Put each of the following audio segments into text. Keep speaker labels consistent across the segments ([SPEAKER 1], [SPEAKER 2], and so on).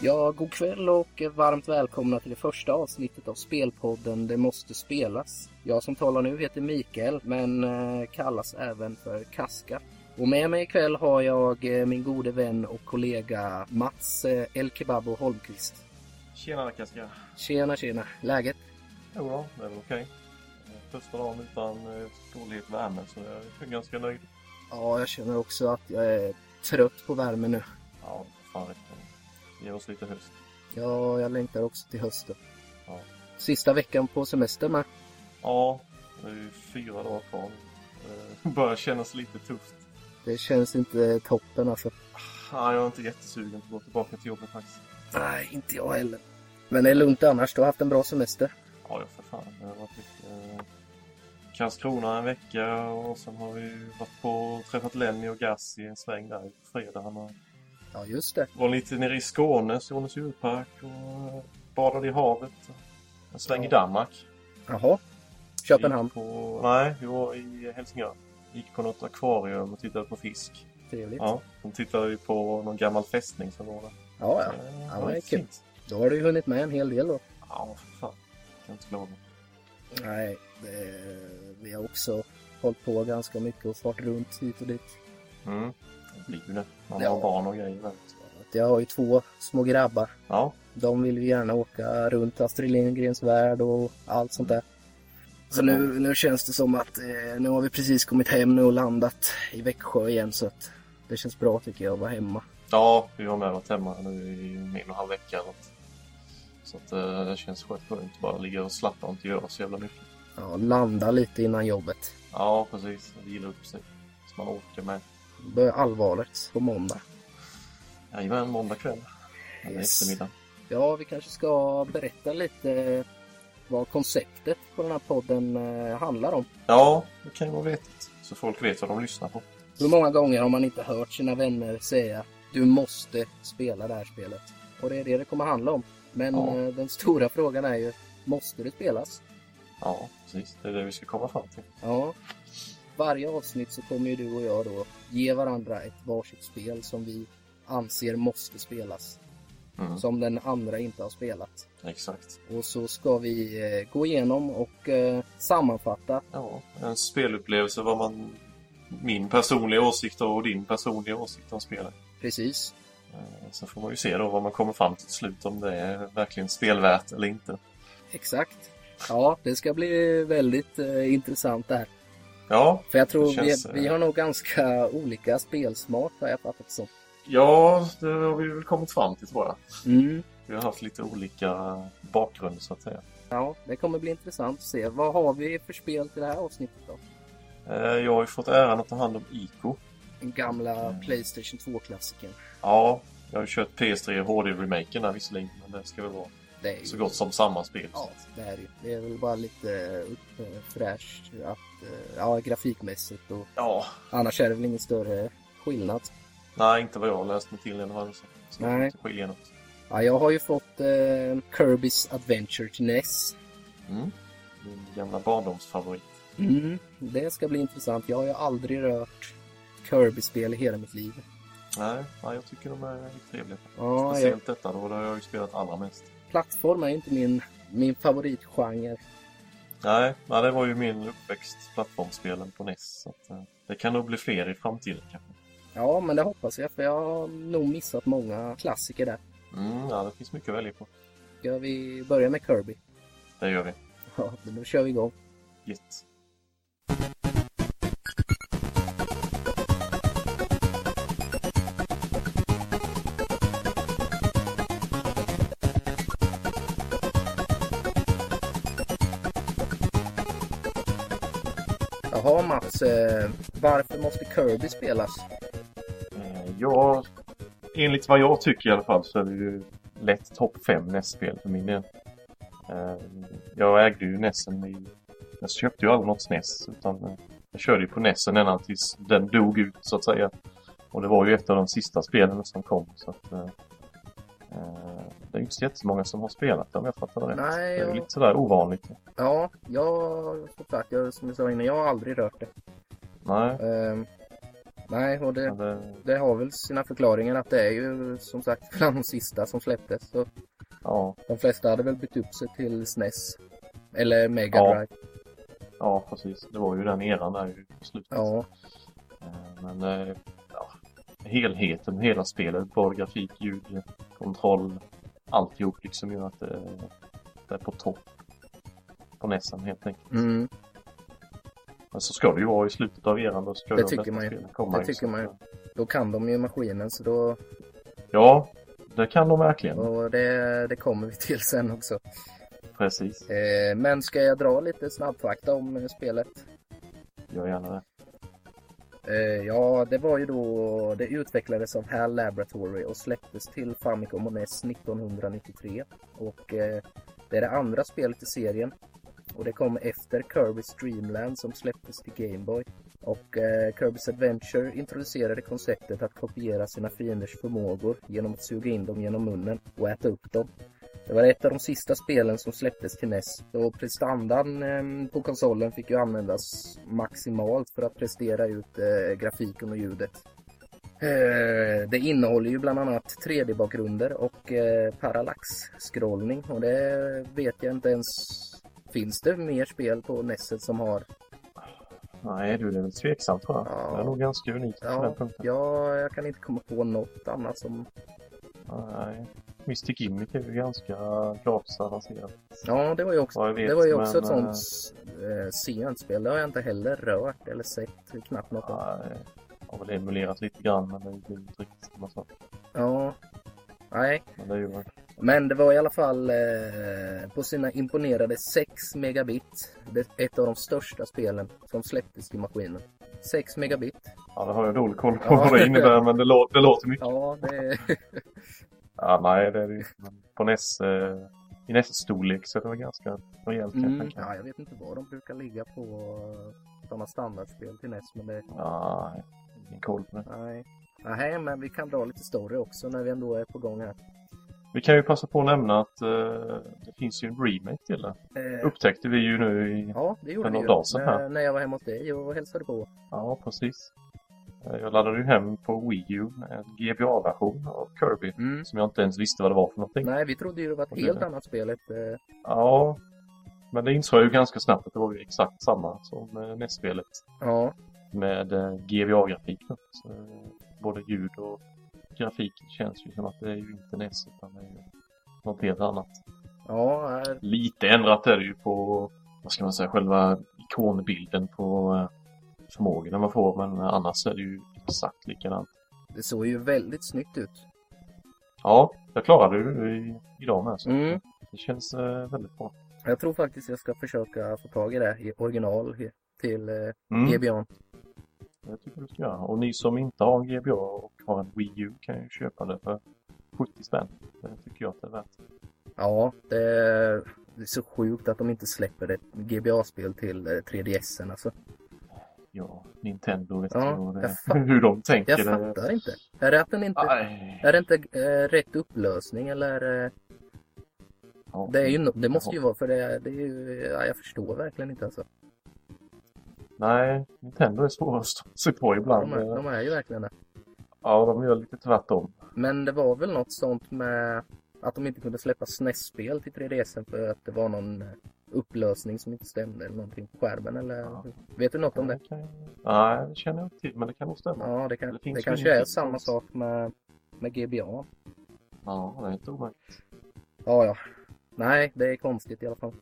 [SPEAKER 1] Ja, god kväll och varmt välkomna till det första avsnittet av spelpodden Det måste spelas. Jag som talar nu heter Mikael, men eh, kallas även för Kaska. Och med mig ikväll har jag eh, min gode vän och kollega Mats eh, El Kebabo Holmqvist.
[SPEAKER 2] Tjenare Kaska!
[SPEAKER 1] Tjena, tjena! Läget?
[SPEAKER 2] Jodå, det är väl okej. Eh, Första dagen utan eh, storhet värme så jag är ganska nöjd.
[SPEAKER 1] Ja, jag känner också att jag är trött på värmen nu.
[SPEAKER 2] Ja, fan rätt. Ge oss lite höst.
[SPEAKER 1] Ja, jag längtar också till hösten.
[SPEAKER 2] Ja.
[SPEAKER 1] Sista veckan på semestern med.
[SPEAKER 2] Ja, det är ju fyra dagar kvar nu. Eh, Börjar kännas lite tufft.
[SPEAKER 1] Det känns inte toppen alltså.
[SPEAKER 2] Ah, jag är inte jättesugen på att gå tillbaka till jobbet faktiskt.
[SPEAKER 1] Nej, inte jag heller. Men det är lugnt annars. Du har haft en bra semester.
[SPEAKER 2] Ja, ja för fan. Det har varit mycket... eh, Karlskrona en vecka och sen har vi varit på träffat Lenny och Gass i en sväng där på fredagen. Och
[SPEAKER 1] Ja, just det.
[SPEAKER 2] var lite nere i Skåne, Skånes djurpark och eh, badade i havet. En sväng i Danmark.
[SPEAKER 1] Jaha. Köpenhamn.
[SPEAKER 2] Gick På... Nej, vi var i Helsingör. Gick på något akvarium och tittade på fisk.
[SPEAKER 1] Trevligt. Ja,
[SPEAKER 2] Ja, sen tittade vi på någon gammal fästning som var där. Eh,
[SPEAKER 1] ja. Ja, det är kul. Då har du ju hunnit med en hel del då.
[SPEAKER 2] Ja, för fan. Kan inte klaga.
[SPEAKER 1] Nej, det... vi har också hållit på ganska mycket och fart runt hit och dit.
[SPEAKER 2] Mm. Det blir ju det. Man
[SPEAKER 1] Ja.
[SPEAKER 2] har barn och grejer. vet du.
[SPEAKER 1] Att Jag har ju två små grabbar.
[SPEAKER 2] Ja,
[SPEAKER 1] De vill ju gärna åka runt Astrid Lindgrens värld och allt sånt där. Så nu, nu känns det som att eh, nu har vi precis kommit hem nu och landat i Växjö igen så att det känns bra tycker jag att vara hemma.
[SPEAKER 2] ja vi har med varit hemma nu i en och en halv vecka. eller något. Så att, eh, det känns skönt skönt att bara ligga och slappa och inte göra så jävla mycket.
[SPEAKER 1] Ja, landa lite innan jobbet.
[SPEAKER 2] Ja, precis. Vila upp sig. Så man orkar med.
[SPEAKER 1] Börjar allvarligt på måndag.
[SPEAKER 2] Jajamän, måndag kväll. Eller
[SPEAKER 1] Yes.
[SPEAKER 2] eftermiddag.
[SPEAKER 1] Ja, vi kanske ska berätta lite vad konceptet på den här podden eh, handlar om.
[SPEAKER 2] Ja, det kan ju vara vettigt. Så folk vet vad de lyssnar på.
[SPEAKER 1] Hur många gånger har man inte hört sina vänner säga du måste spela det här spelet? Och det är det det kommer handla om. Men
[SPEAKER 2] Ja.
[SPEAKER 1] eh, den stora frågan är ju, måste det spelas?
[SPEAKER 2] Ja, precis. Det är det vi ska komma fram till.
[SPEAKER 1] Ja. Varje avsnitt så kommer ju du och jag då ge varandra ett varsitt spel som vi anser måste spelas.
[SPEAKER 2] Mm.
[SPEAKER 1] Som den andra inte har spelat.
[SPEAKER 2] Exakt.
[SPEAKER 1] Och så ska vi eh, gå igenom och eh, sammanfatta.
[SPEAKER 2] Ja, en spelupplevelse var man... Min personliga åsikt och din personliga åsikt om spelet.
[SPEAKER 1] Precis.
[SPEAKER 2] Eh, Sen får man ju se då vad man kommer fram till till slut, om det är verkligen spelvärt eller inte.
[SPEAKER 1] Exakt. Ja, det ska bli väldigt eh, intressant det här.
[SPEAKER 2] Ja,
[SPEAKER 1] För jag tror
[SPEAKER 2] Det känns, eh,
[SPEAKER 1] vi, vi har nog ganska olika spelsmak har jag fattat som.
[SPEAKER 2] ja, det har vi väl kommit fram till tror jag.
[SPEAKER 1] Mm.
[SPEAKER 2] Vi har haft lite olika bakgrunder så att säga.
[SPEAKER 1] Ja, det kommer bli intressant att se. Vad har vi för spel till det här avsnittet då?
[SPEAKER 2] Eh, Jag har ju fått äran att ta hand om Ico.
[SPEAKER 1] Den gamla
[SPEAKER 2] Mm.
[SPEAKER 1] Playstation 2-klassikern.
[SPEAKER 2] Ja, jag har ju kört PS3 HD-remaken där visserligen, men det ska väl vara
[SPEAKER 1] Det är ju...
[SPEAKER 2] så gott som samma spel.
[SPEAKER 1] Ja, det är det ju. Det är väl bara lite eh, fräscht att, eh, ja, grafikmässigt och
[SPEAKER 2] Ja,
[SPEAKER 1] annars är det väl ingen större skillnad.
[SPEAKER 2] Nej, inte vad jag har läst mig till i alla fall. Så så
[SPEAKER 1] Nej.
[SPEAKER 2] det inte skiljer något.
[SPEAKER 1] Ja, jag har ju fått eh, Kirby's Adventure till E NES.
[SPEAKER 2] Mm. Min gamla barndomsfavorit.
[SPEAKER 1] Mm. Det ska bli intressant. Jag har ju aldrig rört Kirby-spel i hela mitt liv.
[SPEAKER 2] Nej, nej, jag tycker de är riktigt trevliga.
[SPEAKER 1] Ja, jag,
[SPEAKER 2] Speciellt detta då, det har jag ju spelat allra mest.
[SPEAKER 1] plattform är inte min, min favoritgenre.
[SPEAKER 2] Nej, nej, det var ju min uppväxt, plattformsspelen på NES. Så att, eh, det kan nog bli fler i framtiden kanske.
[SPEAKER 1] Ja, men det hoppas jag för jag har nog missat många klassiker där.
[SPEAKER 2] Mm, ja, det finns mycket att välja på.
[SPEAKER 1] Ska vi börja med Kirby?
[SPEAKER 2] Det gör vi.
[SPEAKER 1] Ja, men då kör vi igång.
[SPEAKER 2] Gett.
[SPEAKER 1] Jaha Mats, eh, varför måste Kirby spelas?
[SPEAKER 2] Eh, Ja, enligt vad jag tycker i alla fall så är det ju lätt topp 5 NES-spel för min del. Eh, Jag ägde ju NESen i... Jag köpte ju aldrig något SNES utan eh, jag körde ju på NESen ända tills den dog ut så att säga. Och det var ju ett av de sista spelen som kom så att... eh, eh, Det är ju inte så jättemånga som har spelat det om jag fattar det rätt.
[SPEAKER 1] Nej,
[SPEAKER 2] det är ju
[SPEAKER 1] och-
[SPEAKER 2] lite sådär ovanligt.
[SPEAKER 1] Ja, jag, som sagt, jag, som jag sa innan, jag har aldrig rört det.
[SPEAKER 2] Nej,
[SPEAKER 1] Ehm, Nej, och det,
[SPEAKER 2] Men, eh,
[SPEAKER 1] det har väl sina förklaringar att det är ju som sagt bland de sista som släpptes. Så
[SPEAKER 2] ja,
[SPEAKER 1] de flesta hade väl bytt upp sig till SNES. Eller Mega
[SPEAKER 2] Ja.
[SPEAKER 1] Drive.
[SPEAKER 2] ja, precis. Det var ju den eran där i slutet.
[SPEAKER 1] Ja.
[SPEAKER 2] Eh, Men eh, ja, helheten, hela spelet, både grafik, ljud, kontroll, alltihop liksom gör att det, det är på topp. På näsan helt enkelt.
[SPEAKER 1] Mm.
[SPEAKER 2] Men så ska det ju vara i slutet av eran. Då ska
[SPEAKER 1] Det
[SPEAKER 2] ju de
[SPEAKER 1] tycker
[SPEAKER 2] bästa
[SPEAKER 1] man ju.
[SPEAKER 2] spelen komma,
[SPEAKER 1] Det
[SPEAKER 2] ju, så
[SPEAKER 1] tycker
[SPEAKER 2] att,
[SPEAKER 1] man ju.
[SPEAKER 2] eh,
[SPEAKER 1] Då kan de ju maskinen så då...
[SPEAKER 2] Ja, det kan de verkligen.
[SPEAKER 1] Och det, det kommer vi till sen också.
[SPEAKER 2] Precis.
[SPEAKER 1] Eh, men ska jag dra lite snabbfakta om eh, spelet?
[SPEAKER 2] Gör gärna det.
[SPEAKER 1] Eh, ja, det var ju då... Det utvecklades av HAL Laboratory och släpptes till Famicom och NES 1993. Och eh, det är det andra spelet i serien. Och det kom efter Kirby's Dreamland som släpptes till Game Boy. Och eh, Kirby's Adventure introducerade konceptet att kopiera sina fienders förmågor genom att suga in dem genom munnen och äta upp dem. Det var ett av de sista spelen som släpptes till NES och prestandan eh, på konsolen fick ju användas maximalt för att prestera ut eh, grafiken och ljudet. Eh, det innehåller ju bland annat 3D-bakgrunder och eh, parallax-scrollning och det vet jag inte ens Finns det mer spel på Nesset som har
[SPEAKER 2] Nej, du, det är väl tveksamt tror jag.
[SPEAKER 1] Ja.
[SPEAKER 2] Det är nog ganska unikt på den
[SPEAKER 1] Ja,
[SPEAKER 2] punkten.
[SPEAKER 1] ja, jag kan inte komma på något annat som...
[SPEAKER 2] Nej. Mr Gimmick är ju ganska gratis avancerat.
[SPEAKER 1] Ja, det var ju också,
[SPEAKER 2] vad jag vet,
[SPEAKER 1] det var ju också
[SPEAKER 2] men,
[SPEAKER 1] ett sånt eh, sent spel. Det har jag inte heller rört eller sett knappt något om.
[SPEAKER 2] Nej, jag har väl emulerat lite grann men det blir inte riktigt samma sak.
[SPEAKER 1] Ja, nej.
[SPEAKER 2] Men det är ju...
[SPEAKER 1] Men det var i alla fall eh, på sina imponerade 6 megabit. Det, ett av de största spelen som släpptes till maskinen. 6 megabit.
[SPEAKER 2] Ja, det har jag dålig koll på
[SPEAKER 1] Ja.
[SPEAKER 2] vad det innebär men det, lå- det låter mycket.
[SPEAKER 1] Ja, det...
[SPEAKER 2] Ja, nej, det är det ju inte. Men På NES... Eh, I NES-storlek så det var ganska rejält kan jag
[SPEAKER 1] Mm,
[SPEAKER 2] tänka
[SPEAKER 1] ja,
[SPEAKER 2] mig.
[SPEAKER 1] jag vet inte vad de brukar ligga på eh, sådana standardspel till NES, men det...
[SPEAKER 2] Nej, ingen koll på det.
[SPEAKER 1] Nej. Nej, men vi kan dra lite story också när vi ändå är på gång här.
[SPEAKER 2] Vi kan ju passa på att nämna att eh, det finns ju en remake till det.
[SPEAKER 1] Eh,
[SPEAKER 2] Upptäckte vi ju nu i...
[SPEAKER 1] ja, det gjorde
[SPEAKER 2] för
[SPEAKER 1] vi
[SPEAKER 2] någon
[SPEAKER 1] ju.
[SPEAKER 2] dag sedan här.
[SPEAKER 1] När, när jag var hemma hos dig och hälsade på.
[SPEAKER 2] Ja, precis. Eh, Jag laddade ju hem på Wii U en GBA-version av Kirby.
[SPEAKER 1] Mm.
[SPEAKER 2] Som jag inte ens visste vad det var för någonting.
[SPEAKER 1] Nej, vi trodde ju det var ett
[SPEAKER 2] Och det-
[SPEAKER 1] helt annat spel. Ett, eh,
[SPEAKER 2] Ja, men det insåg jag ju ganska snabbt att det var ju exakt samma som eh, NES-spelet
[SPEAKER 1] ja,
[SPEAKER 2] med eh, GBA-grafik. då. Så, eh, både ljud och grafik känns ju som att det är ju inte NES utan det är ju något helt annat.
[SPEAKER 1] ja, här-
[SPEAKER 2] Lite ändrat är det ju på, vad ska man säga, själva ikonbilden på eh, förmågorna man får men annars är det ju exakt likadant.
[SPEAKER 1] det såg ju väldigt snyggt ut.
[SPEAKER 2] Ja, jag klarade ju i, idag med så
[SPEAKER 1] Mm.
[SPEAKER 2] det känns eh, väldigt bra.
[SPEAKER 1] Jag tror faktiskt jag ska försöka få tag i det i original i- till eh,
[SPEAKER 2] Mm.
[SPEAKER 1] GBA.
[SPEAKER 2] Det tycker du ska göra. Och ni som inte har en GBA och har en Wii U kan ju köpa det för 70 spänn. Det tycker jag att det är värt.
[SPEAKER 1] Ja, det är, det är så sjukt att de inte släpper ett GBA-spel till eh, 3DSen alltså.
[SPEAKER 2] Ja, Nintendo vet
[SPEAKER 1] Ja,
[SPEAKER 2] du vad
[SPEAKER 1] jag
[SPEAKER 2] det,
[SPEAKER 1] fa-
[SPEAKER 2] hur de tänker.
[SPEAKER 1] Jag fattar inte. Är det att den inte...
[SPEAKER 2] Aj,
[SPEAKER 1] Är det inte eh, rätt upplösning eller? Eh,
[SPEAKER 2] ja.
[SPEAKER 1] det, är ju, no- det måste ju vara för det, det är ju, ja, jag förstår verkligen inte alltså.
[SPEAKER 2] Nej, Nintendo är svåra att stå sig på ibland.
[SPEAKER 1] De är, de är ju verkligen det.
[SPEAKER 2] Ja, de gör lite tvärtom.
[SPEAKER 1] Men det var väl något sånt med att de inte kunde släppa SNES-spel till 3DSen för att det var någon eh, upplösning som inte stämde eller någonting på skärmen eller
[SPEAKER 2] Ja.
[SPEAKER 1] vet du något om det?
[SPEAKER 2] kan... Nej, det känner jag inte till, men det kan nog stämma.
[SPEAKER 1] Ja, det, kan,
[SPEAKER 2] Det
[SPEAKER 1] det,
[SPEAKER 2] finns ju
[SPEAKER 1] kanske
[SPEAKER 2] ingenting
[SPEAKER 1] är samma
[SPEAKER 2] sånt.
[SPEAKER 1] sak med, med GBA.
[SPEAKER 2] Ja, det är inte omöjligt.
[SPEAKER 1] Ja, ja. Nej, det är konstigt i alla fall.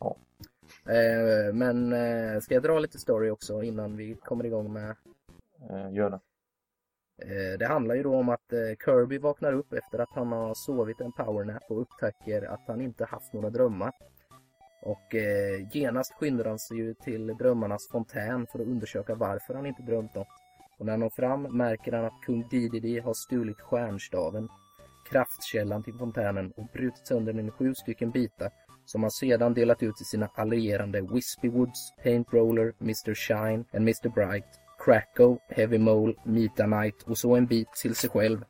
[SPEAKER 2] Ja.
[SPEAKER 1] Eh, men eh, ska jag dra lite story också innan vi kommer igång med
[SPEAKER 2] Eh, gör det.
[SPEAKER 1] Eh, Det handlar ju då om att eh, Kirby vaknar upp efter att han har sovit en powernap och upptäcker att han inte haft några drömmar. Och eh, genast skyndar han sig ju till drömmarnas fontän för att undersöka varför han inte drömt något. Och när han når fram märker han att kung Dedede har stulit stjärnstaven, kraftkällan till fontänen och brutit sönder den i sju stycken bitar som han sedan delat ut till sina allierande Wispy Woods, Paint Roller, Mr Shine and Mr Bright Cracko, Heavy Mole, Mita Knight och så en bit till sig själv.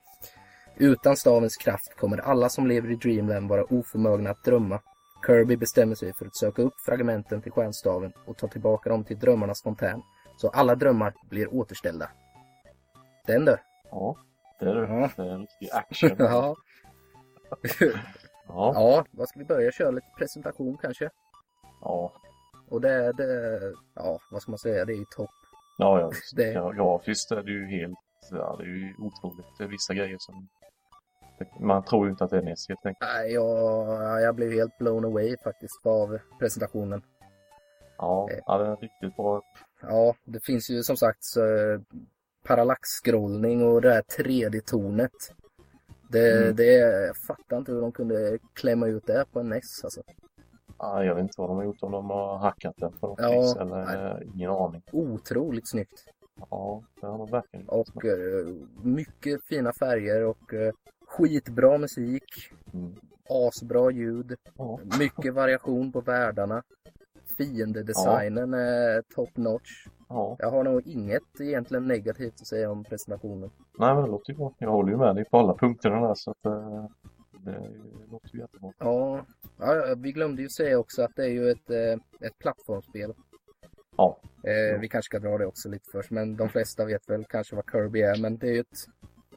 [SPEAKER 1] Utan stavens kraft kommer alla som lever i Dreamland vara oförmögna att drömma. Kirby bestämmer sig för att söka upp fragmenten till stjärnstaven och ta tillbaka dem till drömmarnas fontän, så alla drömmar blir återställda. Den du.
[SPEAKER 2] Ja, det är det.
[SPEAKER 1] Ja.
[SPEAKER 2] Det är en riktig action.
[SPEAKER 1] Ja.
[SPEAKER 2] Ja.
[SPEAKER 1] ja, vad ska vi börja köra lite presentation kanske?
[SPEAKER 2] Ja.
[SPEAKER 1] Och det är, det är ja, vad ska man säga, det är ju topp.
[SPEAKER 2] Ja, ja.
[SPEAKER 1] Det-
[SPEAKER 2] ja grafiskt är det ju helt... Ja, det är ju otroligt. Det är vissa grejer som... Man tror ju inte att det är NES helt enkelt.
[SPEAKER 1] Nej, Jag, jag blev helt blown away faktiskt av presentationen.
[SPEAKER 2] Ja,
[SPEAKER 1] Eh.
[SPEAKER 2] ja det är riktigt bra.
[SPEAKER 1] Ja, det finns ju som sagt så, parallaxskrollning och det här 3D-tornet. Det,
[SPEAKER 2] Mm.
[SPEAKER 1] det, jag fattar inte hur de kunde klämma ut det på en NES alltså.
[SPEAKER 2] Ja, jag vet inte vad de har gjort, om de har hackat den på något
[SPEAKER 1] Ja,
[SPEAKER 2] vis eller eh, ingen aning.
[SPEAKER 1] Otroligt snyggt.
[SPEAKER 2] Ja, det har de verkligen gjort.
[SPEAKER 1] Och eh, mycket fina färger och eh, skitbra musik.
[SPEAKER 2] Mm.
[SPEAKER 1] Asbra ljud.
[SPEAKER 2] Ja,
[SPEAKER 1] Mycket variation på världarna. Fiendedesignen är top notch.
[SPEAKER 2] ja.
[SPEAKER 1] Jag har nog inget egentligen negativt att säga om presentationen.
[SPEAKER 2] Nej, men det låter ju bra. Jag håller ju med dig på alla punkterna där så att eh, det låter ju jättebra.
[SPEAKER 1] Ja, ja, vi glömde ju säga också att det är ju ett, eh, ett plattformsspel.
[SPEAKER 2] Ja.
[SPEAKER 1] Eh, vi kanske ska dra det också lite först, men de flesta vet väl kanske vad Kirby är, men det är ju ett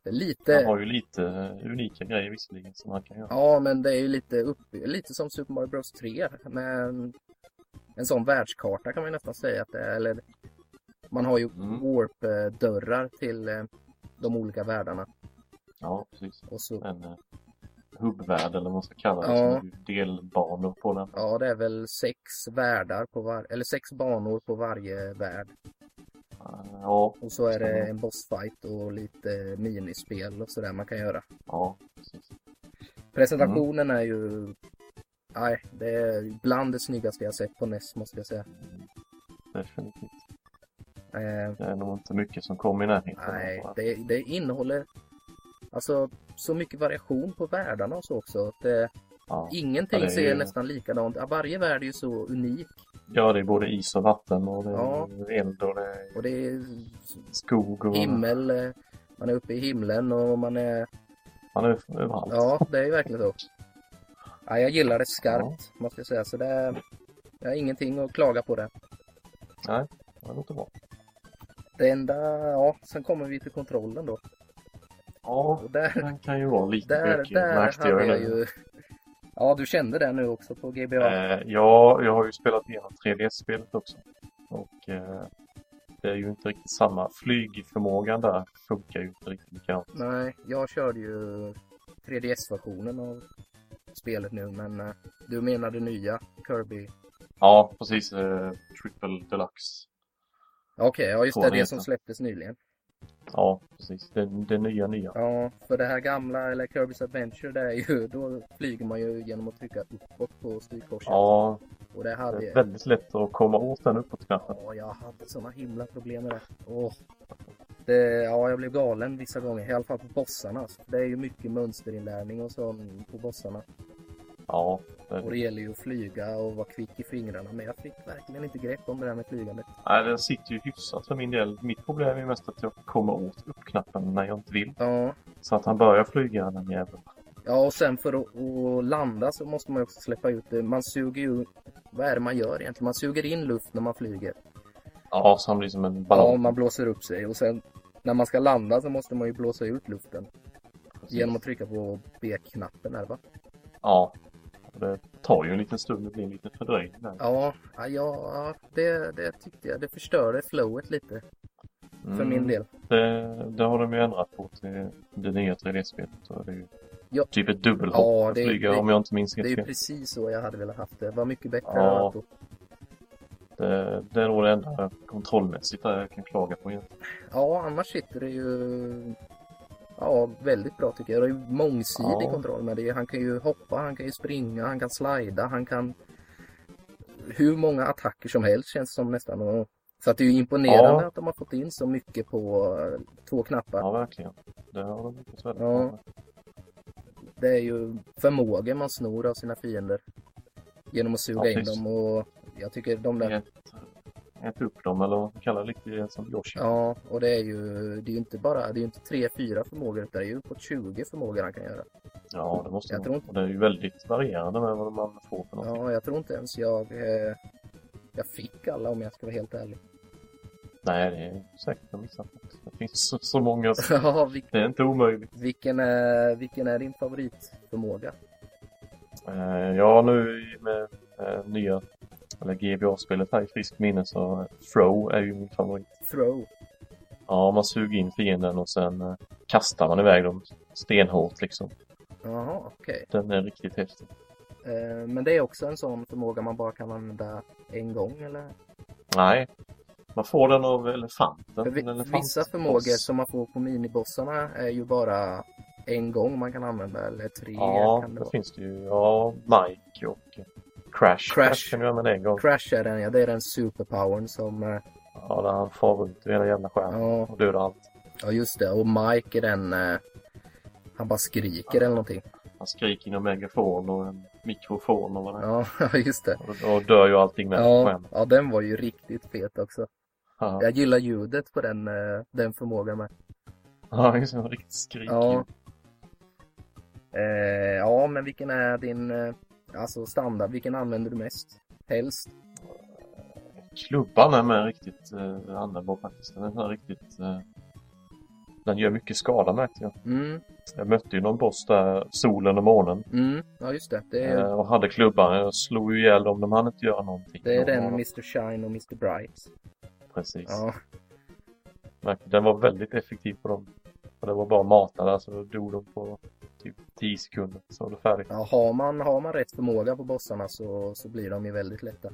[SPEAKER 1] det är
[SPEAKER 2] Man
[SPEAKER 1] lite...
[SPEAKER 2] har ju lite eh, unika grejer visserligen som man kan göra.
[SPEAKER 1] Ja, men det är ju lite upp, lite som Super Mario Bros 3 med en, en sån världskarta kan man ju nästan säga att det är. Eller, man har ju
[SPEAKER 2] Mm.
[SPEAKER 1] warp-dörrar till eh, de olika världarna.
[SPEAKER 2] Ja, precis.
[SPEAKER 1] Och så,
[SPEAKER 2] En eh, hubbvärld eller vad man ska kalla det.
[SPEAKER 1] Ja.
[SPEAKER 2] Som är ju delbanor på den.
[SPEAKER 1] ja, det är väl sex världar på var, eller sex banor på varje värld.
[SPEAKER 2] Eh, Ja,
[SPEAKER 1] Och så är det
[SPEAKER 2] Stämmer.
[SPEAKER 1] en bossfight och lite minispel och sådär man kan göra.
[SPEAKER 2] ja, precis.
[SPEAKER 1] Presentationen är ju... Nej, det är bland det snyggaste jag sett på NES måste jag säga.
[SPEAKER 2] Mm. Definitivt.
[SPEAKER 1] Eh,
[SPEAKER 2] Det är nog inte mycket som kommer i närheten. av
[SPEAKER 1] nej,
[SPEAKER 2] varandra.
[SPEAKER 1] det, det innehåller alltså så mycket variation på världarna och så också. att Det,
[SPEAKER 2] Ja.
[SPEAKER 1] ingenting
[SPEAKER 2] Ja, det är
[SPEAKER 1] ser
[SPEAKER 2] ju-
[SPEAKER 1] nästan likadant Ja, Varje värld är ju så unik
[SPEAKER 2] ja, det är både is och vatten och det är
[SPEAKER 1] Ja.
[SPEAKER 2] eld och det är
[SPEAKER 1] och det är
[SPEAKER 2] skog och...
[SPEAKER 1] himmel. eh, Man är uppe i himlen och man är...
[SPEAKER 2] Man är överallt.
[SPEAKER 1] Ja, det är ju verkligen så. Ja, jag gillar det skarpt måste jag säga. Så det är, jag har ingenting att klaga på det.
[SPEAKER 2] Ja, Det låter bra.
[SPEAKER 1] Det enda, ja, sen kommer vi till kontrollen då.
[SPEAKER 2] Ja,
[SPEAKER 1] Och där,
[SPEAKER 2] den kan ju vara lite
[SPEAKER 1] där,
[SPEAKER 2] bökig.
[SPEAKER 1] där
[SPEAKER 2] märkte
[SPEAKER 1] hade jag
[SPEAKER 2] nu.
[SPEAKER 1] ju... Ja, du kände det nu också på GBA.
[SPEAKER 2] Eh, ja, jag har ju spelat igenom 3DS-spelet också. Och eh, det är ju inte riktigt samma. Flygförmågan där funkar ju inte riktigt likadant.
[SPEAKER 1] Nej, jag körde ju 3DS-versionen av spelet nu, men eh, du menar det nya Kirby?
[SPEAKER 2] Ja, precis. Eh, Triple Deluxe.
[SPEAKER 1] Ja, Okej, ja just
[SPEAKER 2] Så
[SPEAKER 1] det,
[SPEAKER 2] den
[SPEAKER 1] det
[SPEAKER 2] heter.
[SPEAKER 1] som släpptes nyligen.
[SPEAKER 2] Ja, precis. Det, det nya nya.
[SPEAKER 1] Ja, för det här gamla, eller Kirby's Adventure, det är ju, då flyger man ju genom att trycka uppåt på styrkorset.
[SPEAKER 2] Ja,
[SPEAKER 1] Och det hade
[SPEAKER 2] det är
[SPEAKER 1] jag...
[SPEAKER 2] väldigt lätt att komma åt den uppåtknappen.
[SPEAKER 1] Ja, jag hade såna himla problem med det. Åh. det. Ja, jag blev galen vissa gånger. I alla fall på bossarna. alltså. Det är ju mycket mönsterinlärning och sånt på bossarna.
[SPEAKER 2] Ja, det,
[SPEAKER 1] Och det gäller ju att flyga och vara kvick i fingrarna. Men jag fick verkligen inte grepp om det där med flygandet.
[SPEAKER 2] nej, den sitter ju hyfsat för min del. Mitt problem är mest att jag kommer åt uppknappen när jag inte vill.
[SPEAKER 1] Ja,
[SPEAKER 2] Så att han börjar flyga den jäveln.
[SPEAKER 1] ja och sen för att, att landa så måste man ju också släppa ut det. Man suger ju... Vad är det man gör egentligen? Man suger in luft när man flyger.
[SPEAKER 2] Ja, så han blir som en ballong.
[SPEAKER 1] Ja, man blåser upp sig. Och sen när man ska landa så måste man ju blåsa ut luften.
[SPEAKER 2] Precis.
[SPEAKER 1] Genom att trycka på B-knappen där va?
[SPEAKER 2] Ja. Det tar ju en liten stund, det blir en liten fördröjning där.
[SPEAKER 1] Ja, ja, ja det, det tyckte jag. Det förstörde flowet lite för
[SPEAKER 2] Mm,
[SPEAKER 1] min del.
[SPEAKER 2] Det, det har de ju ändrat på till det nya 3D-spelet. Så det är ju
[SPEAKER 1] Ja.
[SPEAKER 2] typ ett dubbelhopp
[SPEAKER 1] Ja,
[SPEAKER 2] att
[SPEAKER 1] det är-
[SPEAKER 2] flyga
[SPEAKER 1] det-
[SPEAKER 2] om jag inte minns
[SPEAKER 1] Det är
[SPEAKER 2] helt
[SPEAKER 1] ju
[SPEAKER 2] fel.
[SPEAKER 1] precis så jag hade velat haft det. Det var mycket bättre.
[SPEAKER 2] Ja.
[SPEAKER 1] att-
[SPEAKER 2] Det, det är nog det enda kontrollmässigt där jag kan klaga på egentligen.
[SPEAKER 1] ja annars sitter det ju ja, väldigt bra tycker jag. Det är ju mångsidig
[SPEAKER 2] Ja.
[SPEAKER 1] kontroll med det. Han kan ju hoppa, han kan ju springa, han kan slida, han kan hur många attacker som helst känns som nästan. Och... Så att det är ju imponerande
[SPEAKER 2] Ja.
[SPEAKER 1] att de har fått in så mycket på eh, två knappar.
[SPEAKER 2] Ja, verkligen. Det har de lyckats väldigt
[SPEAKER 1] Ja.
[SPEAKER 2] bra med.
[SPEAKER 1] Det är ju förmågor man snor av sina fiender. Genom att suga
[SPEAKER 2] Ja,
[SPEAKER 1] in
[SPEAKER 2] precis.
[SPEAKER 1] dem och jag tycker de där...
[SPEAKER 2] Ät, ät upp dem, eller vad man kallar det, lite som Yoshi.
[SPEAKER 1] Ja, och det är ju, det är ju inte bara, det är ju inte tre, fyra förmågor utan det är ju uppåt 20 förmågor han kan göra.
[SPEAKER 2] Ja, det måste
[SPEAKER 1] Jag
[SPEAKER 2] man.
[SPEAKER 1] tror inte-
[SPEAKER 2] Och Det är ju väldigt varierande med vad man får för något.
[SPEAKER 1] Ja, jag tror inte ens jag, eh, jag fick alla om jag ska vara helt ärlig.
[SPEAKER 2] Nej, det är säkert en missat också. Det finns så, så många. så
[SPEAKER 1] Ja, vil-
[SPEAKER 2] Det är inte omöjligt.
[SPEAKER 1] vilken, är, vilken är din favoritförmåga?
[SPEAKER 2] Eh, ja, nu med eh, nya, eller GBA-spelet här i friskt minne så eh, Throw är ju min favorit.
[SPEAKER 1] Throw.
[SPEAKER 2] Ja, man suger in fienden och sen eh, kastar man iväg dem stenhårt liksom.
[SPEAKER 1] Jaha, okej.
[SPEAKER 2] Den är riktigt häftig.
[SPEAKER 1] Eh, men det är också en sån förmåga man bara kan använda en gång, eller?
[SPEAKER 2] Nej, man får den av elefanten.
[SPEAKER 1] För vi-
[SPEAKER 2] en elefant-
[SPEAKER 1] vissa förmågor
[SPEAKER 2] boss.
[SPEAKER 1] som man får på minibossarna är ju bara en gång man kan använda, eller tre
[SPEAKER 2] Ja,
[SPEAKER 1] kan det
[SPEAKER 2] det
[SPEAKER 1] vara.
[SPEAKER 2] finns det ju. Ja, Mike och eh, Crash.
[SPEAKER 1] Crash.
[SPEAKER 2] kan du använda en gång.
[SPEAKER 1] Crash är den, ja. Det är den superpowern som... eh,
[SPEAKER 2] Ja, där han far runt över hela jävla skärmen
[SPEAKER 1] Ja,
[SPEAKER 2] och dödar allt.
[SPEAKER 1] ja just det. Och Mike är den... eh, han bara skriker eller någonting.
[SPEAKER 2] Han skriker inom megafon och en mikrofon och vad det är.
[SPEAKER 1] Ja, just det.
[SPEAKER 2] Och, och dör ju allting med på
[SPEAKER 1] Ja,
[SPEAKER 2] skärmen.
[SPEAKER 1] ja, den var ju riktigt fet också.
[SPEAKER 2] Ja,
[SPEAKER 1] Jag gillar ljudet på den, eh, den förmågan med.
[SPEAKER 2] ja just det. Riktigt skrik.
[SPEAKER 1] Ja. Eh, ja, men vilken är din eh, alltså standard? Vilken använder du mest? Helst?
[SPEAKER 2] Klubban är med riktigt eh, användbar faktiskt. Den är riktigt... Eh, den gör mycket skada märkte jag.
[SPEAKER 1] Mm,
[SPEAKER 2] Jag mötte ju någon boss där, solen och månen.
[SPEAKER 1] mm, ja just det. Det är,
[SPEAKER 2] eh, Och hade klubban. Jag slog ju ihjäl dem. De hann inte göra någonting.
[SPEAKER 1] det är
[SPEAKER 2] De
[SPEAKER 1] den
[SPEAKER 2] var-
[SPEAKER 1] Mr Shine och Mr Bright.
[SPEAKER 2] Precis.
[SPEAKER 1] Ja,
[SPEAKER 2] Märkte, den var väldigt effektiv på dem. Och det var bara att mata där så då dog de på typ 10 sekunder. Så var det färdigt.
[SPEAKER 1] ja har, man, har man rätt förmåga på bossarna så, så blir de ju väldigt lätta.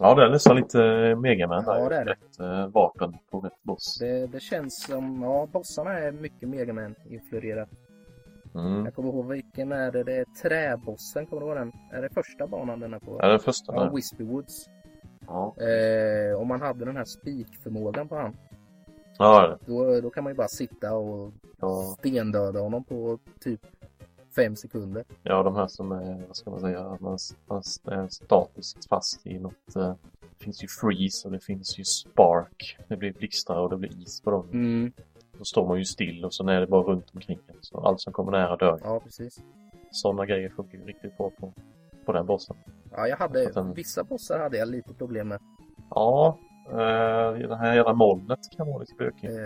[SPEAKER 2] Ja, det är nästan lite eh, Megaman
[SPEAKER 1] Ja,
[SPEAKER 2] där.
[SPEAKER 1] det är det.
[SPEAKER 2] Rätt eh, vapen på rätt boss.
[SPEAKER 1] Det, det känns som, ja bossarna är mycket Megaman-influerat.
[SPEAKER 2] Mm.
[SPEAKER 1] Jag kommer ihåg vilken är det, det är träbossen, kommer du ihåg den? Är det första banan den är på?
[SPEAKER 2] Ja, den första
[SPEAKER 1] Ja,
[SPEAKER 2] där.
[SPEAKER 1] Wispy Woods.
[SPEAKER 2] Ja,
[SPEAKER 1] Eh, om man hade den här spikförmågan på han,
[SPEAKER 2] ja det är det.
[SPEAKER 1] då, då kan man ju bara sitta och
[SPEAKER 2] Ja,
[SPEAKER 1] stendöda honom på typ fem sekunder.
[SPEAKER 2] ja, de här som är, vad ska man säga, att man, man är statiskt fast i något. Eh, det finns ju freeze och det finns ju spark. Det blir blixtar och det blir is på dem.
[SPEAKER 1] Mm.
[SPEAKER 2] Då står man ju still och sen är det bara runt omkring en. Så allt som kommer nära dör.
[SPEAKER 1] Ja, precis.
[SPEAKER 2] Sådana grejer funkar ju riktigt bra på, på den bossen.
[SPEAKER 1] Ja, jag
[SPEAKER 2] Jag fattar
[SPEAKER 1] hade,
[SPEAKER 2] inte.
[SPEAKER 1] vissa bossar hade jag lite problem med.
[SPEAKER 2] Ja, eh, det här jävla molnet kan vara lite bökigt.
[SPEAKER 1] Eh,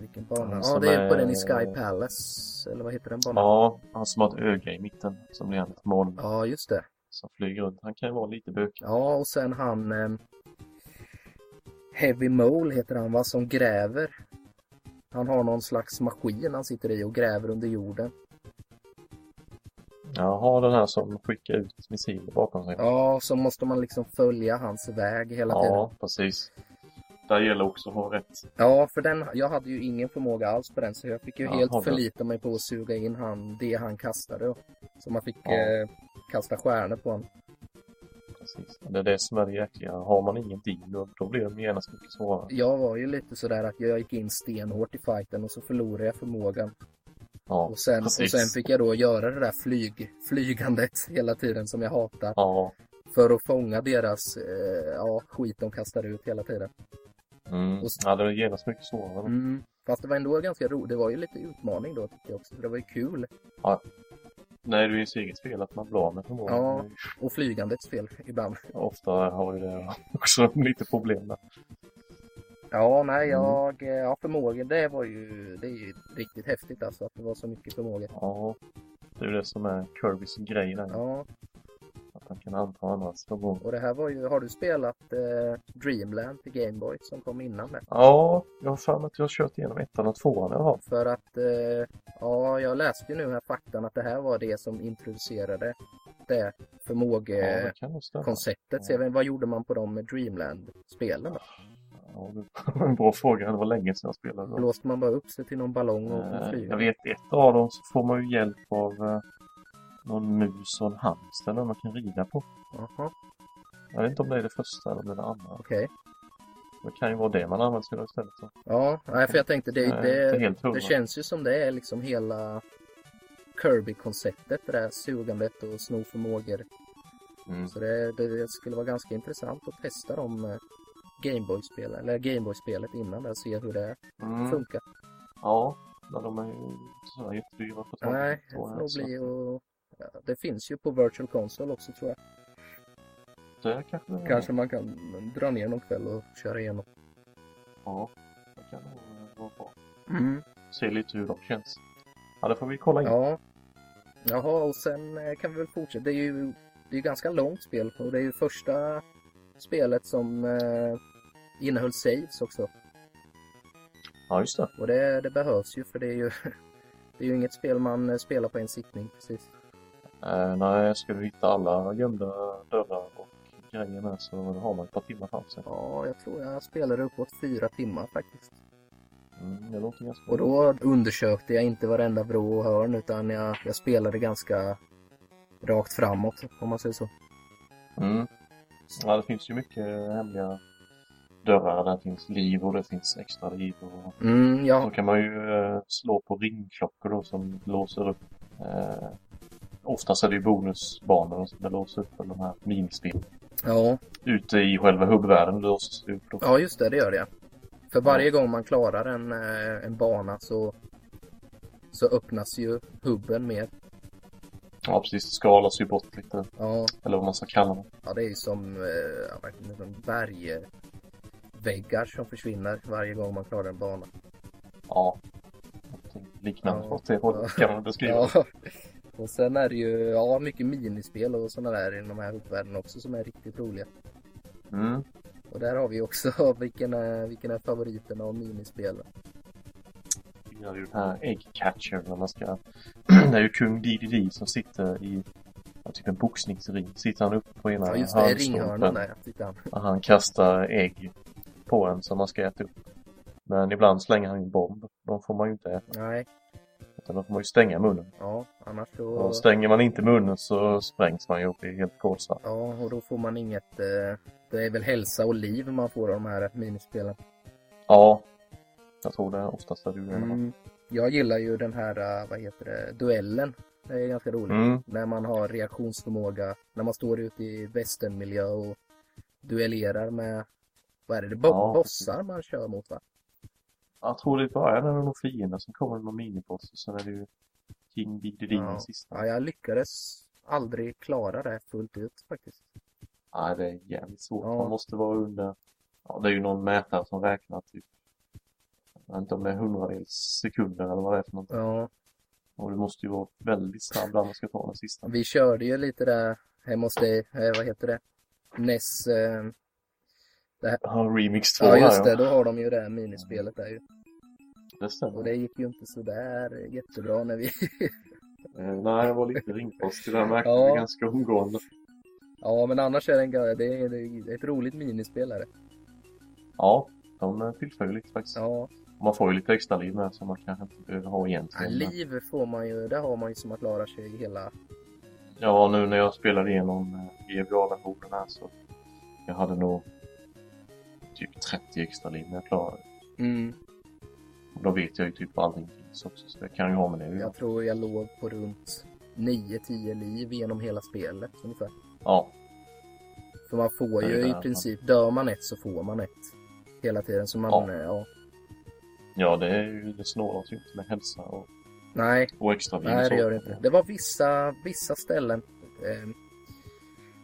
[SPEAKER 1] vilken bana?
[SPEAKER 2] Han
[SPEAKER 1] Ja,
[SPEAKER 2] som
[SPEAKER 1] det är på
[SPEAKER 2] är-
[SPEAKER 1] den i Sky Palace. Eller vad heter den banan?
[SPEAKER 2] Ja, han som har ett öga i mitten som blir ett moln
[SPEAKER 1] Ja, just det.
[SPEAKER 2] som flyger runt. Han kan ju vara lite bökig.
[SPEAKER 1] Ja, och sen han... Eh, Heavy Mole heter han, va? Som gräver. Han har någon slags maskin han sitter i och gräver under jorden.
[SPEAKER 2] Jaha, den här som skickar ut missiler bakom sig.
[SPEAKER 1] Ja, så måste man liksom följa hans väg hela tiden.
[SPEAKER 2] Ja, precis. Där gäller också att ha rätt.
[SPEAKER 1] Ja, för den, jag hade ju ingen förmåga alls på den så jag fick ju
[SPEAKER 2] Jaha, bra.
[SPEAKER 1] helt förlita mig på att suga in han, det han kastade. då. Så man fick
[SPEAKER 2] Ja.
[SPEAKER 1] eh, kasta stjärnor på honom.
[SPEAKER 2] Precis. Det är det som är det jäkliga. Har man ingenting då, då blir de genast mycket svårare.
[SPEAKER 1] Jag var ju lite sådär att jag gick in stenhårt i fighten och så förlorade jag förmågan.
[SPEAKER 2] Ja,
[SPEAKER 1] Och sen, och
[SPEAKER 2] precis.
[SPEAKER 1] sen fick jag då göra det där flyg, flygandet hela tiden som jag hatar.
[SPEAKER 2] ja.
[SPEAKER 1] För att fånga deras eh, ja, skit de kastar ut hela tiden.
[SPEAKER 2] Mm.
[SPEAKER 1] Och s-
[SPEAKER 2] ja det är genast mycket svårare.
[SPEAKER 1] Mm. Fast det var ändå ganska roligt. Det var ju lite utmaning då tyckte jag också. För det var ju kul.
[SPEAKER 2] Nej, det är ju sitt eget fel att man blir av med förmågan.
[SPEAKER 1] Ja.
[SPEAKER 2] Det är ju-
[SPEAKER 1] Och flygandets fel ibland.
[SPEAKER 2] Ofta har ju det också lite problem där.
[SPEAKER 1] Ja, nej,
[SPEAKER 2] Mm.
[SPEAKER 1] jag, eh, ja, förmågor, det var ju, det är ju riktigt häftigt alltså att det var så mycket förmågor.
[SPEAKER 2] Ja, det är ju det som är Kirbys grej där.
[SPEAKER 1] Ja,
[SPEAKER 2] Att han kan anta andras förmågor.
[SPEAKER 1] och det här var ju, har du spelat eh, Dreamland till Gameboy som kom innan det?
[SPEAKER 2] Ja, jag har för mig att jag har kört igenom ettan och tvåan i alla fall.
[SPEAKER 1] För att, eh, ja, jag läste ju nu här faktan att det här var det som introducerade det
[SPEAKER 2] Ja, det
[SPEAKER 1] förmågekonceptet.
[SPEAKER 2] kan nog stämma.
[SPEAKER 1] Så jag vet, inte, vad gjorde man på de Dreamland-spelen då?
[SPEAKER 2] Ja, det var en bra fråga. Det var länge sedan jag spelade. dem.
[SPEAKER 1] Blåste man bara upp sig till någon ballong och
[SPEAKER 2] Eh, Jag
[SPEAKER 1] flyga?
[SPEAKER 2] vet ett av dem så får man ju hjälp av eh, någon mus och en hamster där man kan rida på.
[SPEAKER 1] Jaha,
[SPEAKER 2] Jag vet inte om det är det första eller om det är det andra.
[SPEAKER 1] okej.
[SPEAKER 2] Det kan ju vara det man använder sig av istället. då.
[SPEAKER 1] Ja, nej, för jag tänkte det,
[SPEAKER 2] Jag är inte
[SPEAKER 1] det,
[SPEAKER 2] helt hundra.
[SPEAKER 1] Det känns ju som det är liksom hela Kirby-konceptet, det där sugandet och sno förmågor.
[SPEAKER 2] Mm.
[SPEAKER 1] Så det, det skulle vara ganska intressant att testa de eh, Gameboy-spelen, eller Gameboy-spelet innan där och se hur det
[SPEAKER 2] Mm.
[SPEAKER 1] funkar.
[SPEAKER 2] Ja, men de är ju inte sådär jättedyra på alltså. tag.
[SPEAKER 1] Nej, det får nog bli och... ja, Det finns ju på Virtual Console också tror jag.
[SPEAKER 2] Det kanske det är.
[SPEAKER 1] Kanske man kan dra ner någon kväll och köra igenom.
[SPEAKER 2] Ja, det kan nog eh, vara bra.
[SPEAKER 3] Mm.
[SPEAKER 2] Se lite hur de känns. Ja, det får vi kolla in.
[SPEAKER 1] Ja. Jaha, och sen eh, kan vi väl fortsätta. Det är ju det är ju ganska långt spel och det är ju första spelet som eh, innehöll saves också.
[SPEAKER 2] Ja, just det.
[SPEAKER 1] Och det, det behövs ju för det är ju, det är ju inget spel man eh, spelar på en sittning precis.
[SPEAKER 2] Eh, nej, ska du hitta alla gömda dörrar och grejer med så har man ett par timmar fram sig.
[SPEAKER 1] Ja, jag tror jag spelade uppåt fyra timmar faktiskt.
[SPEAKER 2] Mm, det låter ganska
[SPEAKER 1] Och då undersökte jag inte varenda vrå och hörn utan jag, jag spelade ganska rakt framåt om man säger så.
[SPEAKER 2] Mm. Ja, det finns ju mycket hemliga dörrar. Där finns liv och det finns extra liv. Och...
[SPEAKER 1] Mm,
[SPEAKER 2] Så
[SPEAKER 1] ja,
[SPEAKER 2] kan man ju eh, slå på ringklockor då som låser upp. Eh, oftast är det ju bonusbanor som låser upp för de här minispelen.
[SPEAKER 1] ja,
[SPEAKER 2] Ute i själva hubbvärlden låses det upp då.
[SPEAKER 1] ja, just det, det gör det. För varje gång man klarar en, eh, en bana så, så öppnas ju hubben mer.
[SPEAKER 2] Ja, precis. Det skalas ju bort lite.
[SPEAKER 1] Ja,
[SPEAKER 2] Eller vad man ska kalla det.
[SPEAKER 1] ja det är ju som, eh, ja, verkligen som bergväggar som försvinner varje gång man klarar en bana.
[SPEAKER 2] Ja. Någonting liknande
[SPEAKER 1] Ja.
[SPEAKER 2] åt det hållet kan man beskriva.
[SPEAKER 1] Ja.
[SPEAKER 2] Ja.
[SPEAKER 1] Och sen är det ju ja, mycket minispel och sådana där i de här hubvärlden också som är riktigt roliga.
[SPEAKER 2] Mm.
[SPEAKER 1] Och där har vi också vilken är, vilken är favoriten av minispelen.
[SPEAKER 2] Vi gör ju den här äggcatcher. När man ska... det är ju kung DDD som sitter i ja, typ en boxningsring. Sitter han uppe på ena
[SPEAKER 1] Ja, just det,
[SPEAKER 2] hörnstolpen.
[SPEAKER 1] ringhörnan där. Titta.
[SPEAKER 2] Och han kastar ägg på en som man ska äta upp. Men ibland slänger han ju en bomb. De får man ju inte äta.
[SPEAKER 1] Nej,
[SPEAKER 2] Utan de får man ju stänga munnen.
[SPEAKER 1] ja, annars så...
[SPEAKER 2] Och stänger man inte munnen så sprängs man ju och blir helt kolsvart.
[SPEAKER 1] Ja, och då får man inget... Eh, det är väl hälsa och liv man får av de här minispelen.
[SPEAKER 2] Ja. Jag tror det är oftast är det ju det. Mm.
[SPEAKER 1] Jag gillar ju den här, eh, vad heter det, duellen. Det är ganska roligt.
[SPEAKER 2] Mm.
[SPEAKER 1] När man har reaktionsförmåga, när man står ute i västernmiljö och duellerar med, vad är det, det är bo-
[SPEAKER 2] Ja,
[SPEAKER 1] bossar man kör mot va?
[SPEAKER 2] Jag tror det i början är det någon fiende. Sen kommer det någon miniboss. Och sen är det ju King Diddy den sista.
[SPEAKER 1] Ja, jag lyckades aldrig klara det fullt ut faktiskt.
[SPEAKER 2] Nej, det är jävligt svårt.
[SPEAKER 1] Ja.
[SPEAKER 2] Man måste vara under... Ja, det är ju någon mätare som räknar typ... Jag vet inte om det är hundradels sekunder eller vad det är för någonting.
[SPEAKER 1] Ja,
[SPEAKER 2] Och du måste ju vara väldigt snabb där man ska ta den sista.
[SPEAKER 1] vi körde ju lite där hemma hos dig, eh, vad heter det? Ness... Eh,
[SPEAKER 2] Ja, Remix 2
[SPEAKER 1] ja
[SPEAKER 2] där,
[SPEAKER 1] just det, då har de ju det här minispelet där ju.
[SPEAKER 2] Det stämmer.
[SPEAKER 1] Och det gick ju inte sådär jättebra när vi...
[SPEAKER 2] Eh, nej, jag var lite ringfrost. Det där märkte
[SPEAKER 1] Ja.
[SPEAKER 2] vi ganska omgående.
[SPEAKER 1] Ja men annars är det, en, gö- det, är, det är ett roligt minispel är det.
[SPEAKER 2] Ja, de eh, tillför ju lite faktiskt.
[SPEAKER 1] Ja.
[SPEAKER 2] Man får ju lite extra liv med som man kanske inte behöver ha
[SPEAKER 1] ja,
[SPEAKER 2] egentligen. Men-
[SPEAKER 1] liv får man ju, det har man ju som att klara sig i hela...
[SPEAKER 2] Ja, nu när jag spelade igenom eh, GBA-versionen här så jag hade nog typ 30 extra liv när jag klarade det.
[SPEAKER 1] Mm.
[SPEAKER 2] Och då vet jag ju typ vad allting finns också, så det kan ju ha med det att göra.
[SPEAKER 1] Jag tror jag låg på runt 9-10 liv genom hela spelet ungefär.
[SPEAKER 2] Ja,
[SPEAKER 1] För man får
[SPEAKER 2] Ja,
[SPEAKER 1] ju
[SPEAKER 2] det
[SPEAKER 1] i
[SPEAKER 2] där,
[SPEAKER 1] princip, dör man ett så får man ett. Hela tiden så man,
[SPEAKER 2] Ja.
[SPEAKER 1] ja. ja.
[SPEAKER 2] ja det, är ju, det snålas ju inte med hälsa och,
[SPEAKER 1] Nej,
[SPEAKER 2] och extra liv. och
[SPEAKER 1] nej
[SPEAKER 2] så.
[SPEAKER 1] det gör det inte. Det var vissa, vissa ställen. Eh,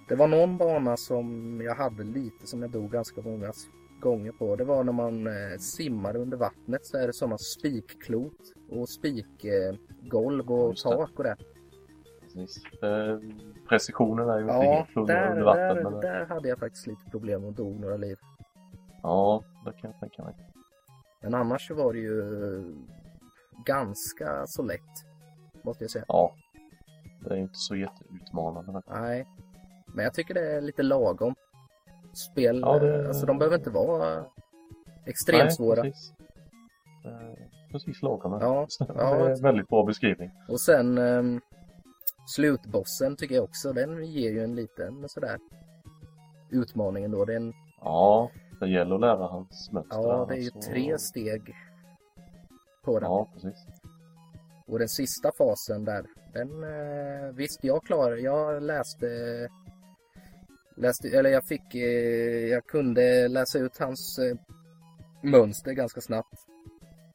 [SPEAKER 1] det var någon bana som jag hade lite som jag dog ganska många s- gånger på. Det var när man eh, simmade under vattnet så är det sådana spikklot och spikgolv eh, golv och
[SPEAKER 2] Just det.
[SPEAKER 1] tak och det.
[SPEAKER 2] Precis. Eh, precisionen är ju inte
[SPEAKER 1] Ja,
[SPEAKER 2] helt
[SPEAKER 1] där,
[SPEAKER 2] under, under vatten. men
[SPEAKER 1] där,
[SPEAKER 2] det-
[SPEAKER 1] där hade jag faktiskt lite problem och dog några liv.
[SPEAKER 2] Ja, det kan jag tänka mig.
[SPEAKER 1] Men annars så var det ju ganska så lätt. Måste jag säga.
[SPEAKER 2] Ja. Det är ju inte så jätteutmanande. men-
[SPEAKER 1] Nej. Men jag tycker det är lite lagom. Spel,
[SPEAKER 2] Ja, det-
[SPEAKER 1] eh, alltså de behöver inte vara extremt
[SPEAKER 2] Nej,
[SPEAKER 1] svåra.
[SPEAKER 2] Precis, eh, precis lagom.
[SPEAKER 1] Ja, ja.
[SPEAKER 2] det är en väldigt bra beskrivning.
[SPEAKER 1] Och sen ehm, slutbossen tycker jag också, den ger ju en liten sådär utmaning ändå. Det är en,
[SPEAKER 2] Ja, det gäller att lära hans mönster.
[SPEAKER 1] ja, det är ju
[SPEAKER 2] alltså.
[SPEAKER 1] tre steg på den.
[SPEAKER 2] Ja, precis.
[SPEAKER 1] Och den sista fasen där, den eh, visst jag klarar, jag läste, läste eller jag fick, eh, jag kunde läsa ut hans eh, mönster ganska snabbt.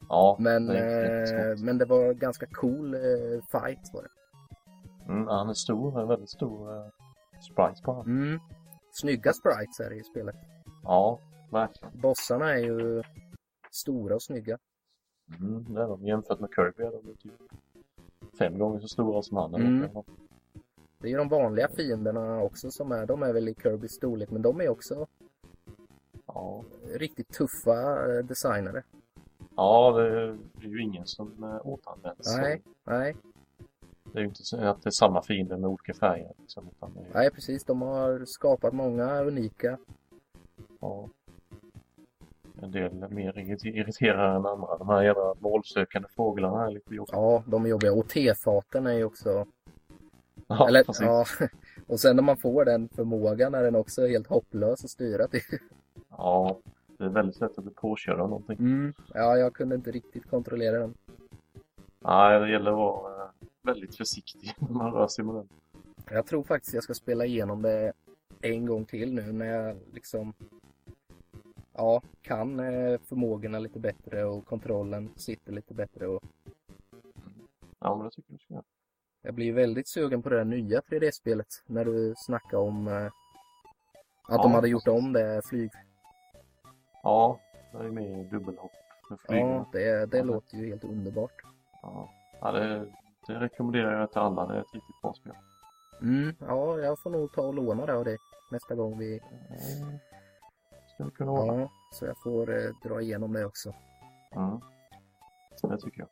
[SPEAKER 2] Ja,
[SPEAKER 1] Men,
[SPEAKER 2] det är inte
[SPEAKER 1] eh,
[SPEAKER 2] jättesvårt.
[SPEAKER 1] men det var ganska cool eh, fight var det.
[SPEAKER 2] mm, Han är stor, en väldigt stor eh, sprite på honom.
[SPEAKER 1] Mm. Snygga sprites är det i spelet.
[SPEAKER 2] Ja, verkligen.
[SPEAKER 1] Bossarna är ju stora och snygga.
[SPEAKER 2] Mm, det är de. Jämfört med Kirby är de ju typ fem gånger så stora som han. eller
[SPEAKER 1] Mm.
[SPEAKER 2] något.
[SPEAKER 1] Det är ju de vanliga fienderna också som är, de är väl i Kirbys storlek, men de är också
[SPEAKER 2] Ja,
[SPEAKER 1] riktigt tuffa eh, designade.
[SPEAKER 2] ja det är ju ingen som eh, återanvänds.
[SPEAKER 1] Nej, nej,
[SPEAKER 2] Det är ju inte så att det är samma fiende med olika färger. Liksom, utan det är,
[SPEAKER 1] nej precis. De har skapat många unika.
[SPEAKER 2] Ja. En del mer irriter- irriterande än andra. De här jävla målsökande fåglarna är lite jobbiga.
[SPEAKER 1] Ja, de är jobbiga. Och tefaten är ju också...
[SPEAKER 2] Ja,
[SPEAKER 1] eller,
[SPEAKER 2] precis.
[SPEAKER 1] ja. Och sen när man får den förmågan är den också helt hopplös att styra till.
[SPEAKER 2] Ja, det är väldigt lätt att bli påkörd av någonting.
[SPEAKER 1] Ja, jag kunde inte riktigt kontrollera den.
[SPEAKER 2] Nej, det gäller att vara eh, väldigt försiktig när man rör sig med den.
[SPEAKER 1] Jag tror faktiskt jag ska spela igenom det en gång till nu när jag liksom ja, kan eh, förmågorna lite bättre och kontrollen sitter lite bättre. Och
[SPEAKER 2] Ja, men det tycker jag du ska göra.
[SPEAKER 1] jag blir väldigt sugen på det där nya 3D-spelet när du snackade om eh, att de
[SPEAKER 2] Ja.
[SPEAKER 1] hade gjort om det flyg.
[SPEAKER 2] Ja, det är med i dubbelhopp med flygen.
[SPEAKER 1] Ja, det, det
[SPEAKER 2] Ja.
[SPEAKER 1] låter ju helt underbart.
[SPEAKER 2] Ja. Ja, det, det rekommenderar jag till alla. Det är ett riktigt bra spel.
[SPEAKER 1] Mm, ja, jag får nog ta och låna det av dig nästa gång vi...
[SPEAKER 2] Mm. Ska vi kunna ordna.
[SPEAKER 1] Ja, så jag får eh, dra igenom det också.
[SPEAKER 2] Mm. Det tycker jag.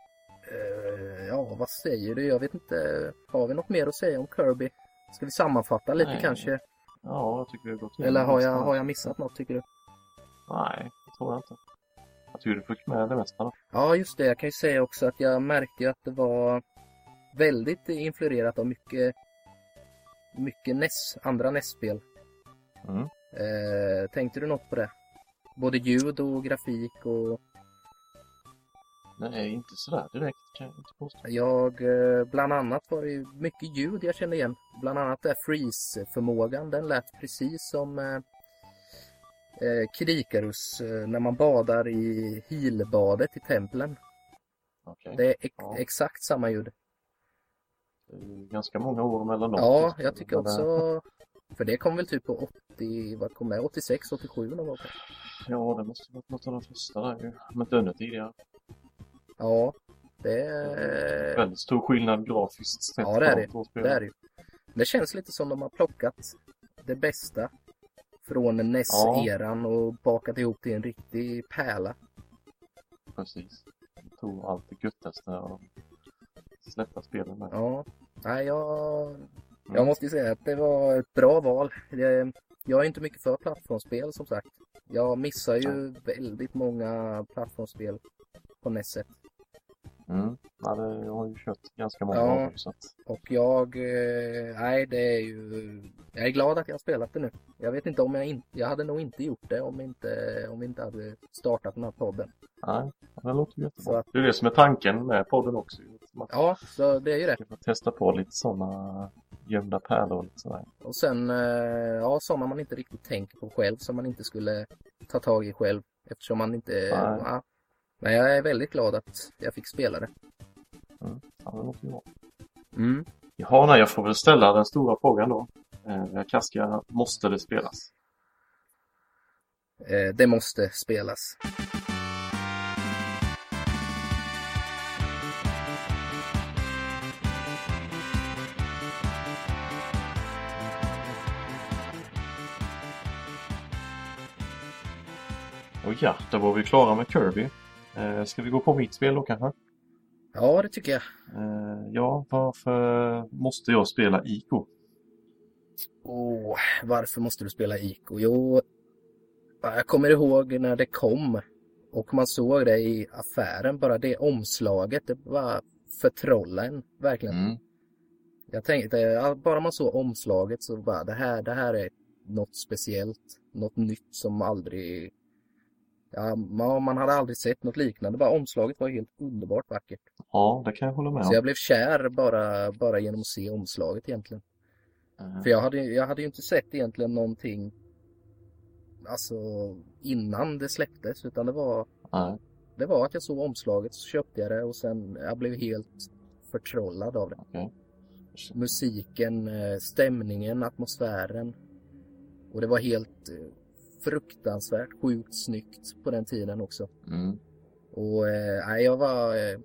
[SPEAKER 1] Eh, ja, vad säger du? Jag vet inte. Har vi något mer att säga om Kirby? Ska vi sammanfatta lite
[SPEAKER 2] Nej.
[SPEAKER 1] kanske?
[SPEAKER 2] Ja, jag tycker vi har gått igenom
[SPEAKER 1] Eller har jag,
[SPEAKER 2] nästan.
[SPEAKER 1] har jag missat något tycker du?
[SPEAKER 2] Nej, det tror jag inte. Jag tycker du fick med det mesta då.
[SPEAKER 1] Ja, just det. Jag kan ju säga också att jag märkte ju att det var väldigt influerat av mycket, mycket NES, andra NES-spel.
[SPEAKER 2] Mm.
[SPEAKER 1] Eh, tänkte du något på det? Både ljud och grafik och
[SPEAKER 2] Nej, inte sådär direkt kan jag inte påstå.
[SPEAKER 1] jag, eh, bland annat var det ju mycket ljud jag kände igen. Bland annat där freeze-förmågan, den lät precis som eh, eh, Krikarus eh, när man badar i Hilbadet i templen.
[SPEAKER 2] Okej.
[SPEAKER 1] Det är ex-
[SPEAKER 2] Ja.
[SPEAKER 1] exakt samma ljud.
[SPEAKER 2] Det är ju ganska många år mellan dem.
[SPEAKER 1] Ja,
[SPEAKER 2] Just det,
[SPEAKER 1] jag tycker
[SPEAKER 2] men, eh,
[SPEAKER 1] också... För det kom väl typ på 80, vad kom det? 86, 87 någon gång.
[SPEAKER 2] Ja, det måste varit något av de första där ju. Men ännu tidigare.
[SPEAKER 1] Ja, det,
[SPEAKER 2] Väldigt stor skillnad grafiskt sett.
[SPEAKER 1] Eh. Ja, det är
[SPEAKER 2] på de två spelen.
[SPEAKER 1] det är det ju. Det känns lite som de har plockat det bästa från NES-eran och bakat ihop till en riktig pärla.
[SPEAKER 2] Precis. De tog allt det göttaste och släppta spelen med.
[SPEAKER 1] Ja, nej jag... Jag måste ju säga att det var ett bra val. Det- Jag är inte mycket för plattformsspel som sagt. Jag missar ju väldigt många plattformsspel på E NES.
[SPEAKER 2] Mm. Ja, det, jag har ju kört ganska många
[SPEAKER 1] Ja.
[SPEAKER 2] av dem så att...
[SPEAKER 1] Och jag, eh, nej det är ju, jag är glad att jag har spelat det nu. Jag vet inte om jag inte, jag hade nog inte gjort det om inte, om vi inte hade startat den här podden.
[SPEAKER 2] Nej, ja, det låter ju
[SPEAKER 1] Så
[SPEAKER 2] jättebra.
[SPEAKER 1] att-
[SPEAKER 2] Det är det som är tanken med podden också. ju. Att man
[SPEAKER 1] Ja, så det är ju det.
[SPEAKER 2] ska få testa på lite sådana gömda pärlor och lite sådär.
[SPEAKER 1] Och sen, eh, ja sådana man inte riktigt tänker på själv, som man inte skulle ta tag i själv. Eftersom man inte,
[SPEAKER 2] Nej.
[SPEAKER 1] ja. Men jag är väldigt glad att jag fick spela det.
[SPEAKER 2] Ja, det låter ju bra.
[SPEAKER 1] Mm.
[SPEAKER 2] Jaha, nej, jag får väl ställa den stora frågan då. Eh, Kaska, måste det spelas?
[SPEAKER 1] Eh, det måste spelas.
[SPEAKER 2] Och ja, då var vi klara med Kirby. Eh, ska vi gå på mitt spel då kanske?
[SPEAKER 1] Ja, det tycker jag.
[SPEAKER 2] Eh, ja, varför måste jag spela Ico?
[SPEAKER 1] Åh, varför måste du spela Ico? Jo, jag kommer ihåg när det kom och man såg det i affären, bara det omslaget, det bara förtrollade en verkligen.
[SPEAKER 2] Mm.
[SPEAKER 1] Jag tänkte, ja, bara man såg omslaget så bara det här, det här är något speciellt, något nytt som aldrig... Ja, man, man hade aldrig sett något liknande, bara omslaget var helt underbart vackert.
[SPEAKER 2] Ja, det kan jag hålla med
[SPEAKER 1] Så
[SPEAKER 2] om.
[SPEAKER 1] jag blev kär bara, bara genom att se omslaget egentligen.
[SPEAKER 2] Eh,
[SPEAKER 1] För jag hade, jag hade ju inte sett egentligen någonting alltså innan det släpptes utan det var,
[SPEAKER 2] nej.
[SPEAKER 1] det var att jag såg omslaget så köpte jag det och sen jag blev helt förtrollad av det.
[SPEAKER 2] Okej.
[SPEAKER 1] Musiken, eh, stämningen, atmosfären. Och det var helt eh, fruktansvärt sjukt snyggt på den tiden också.
[SPEAKER 2] Mm.
[SPEAKER 1] Och eh, nej, jag var... Eh,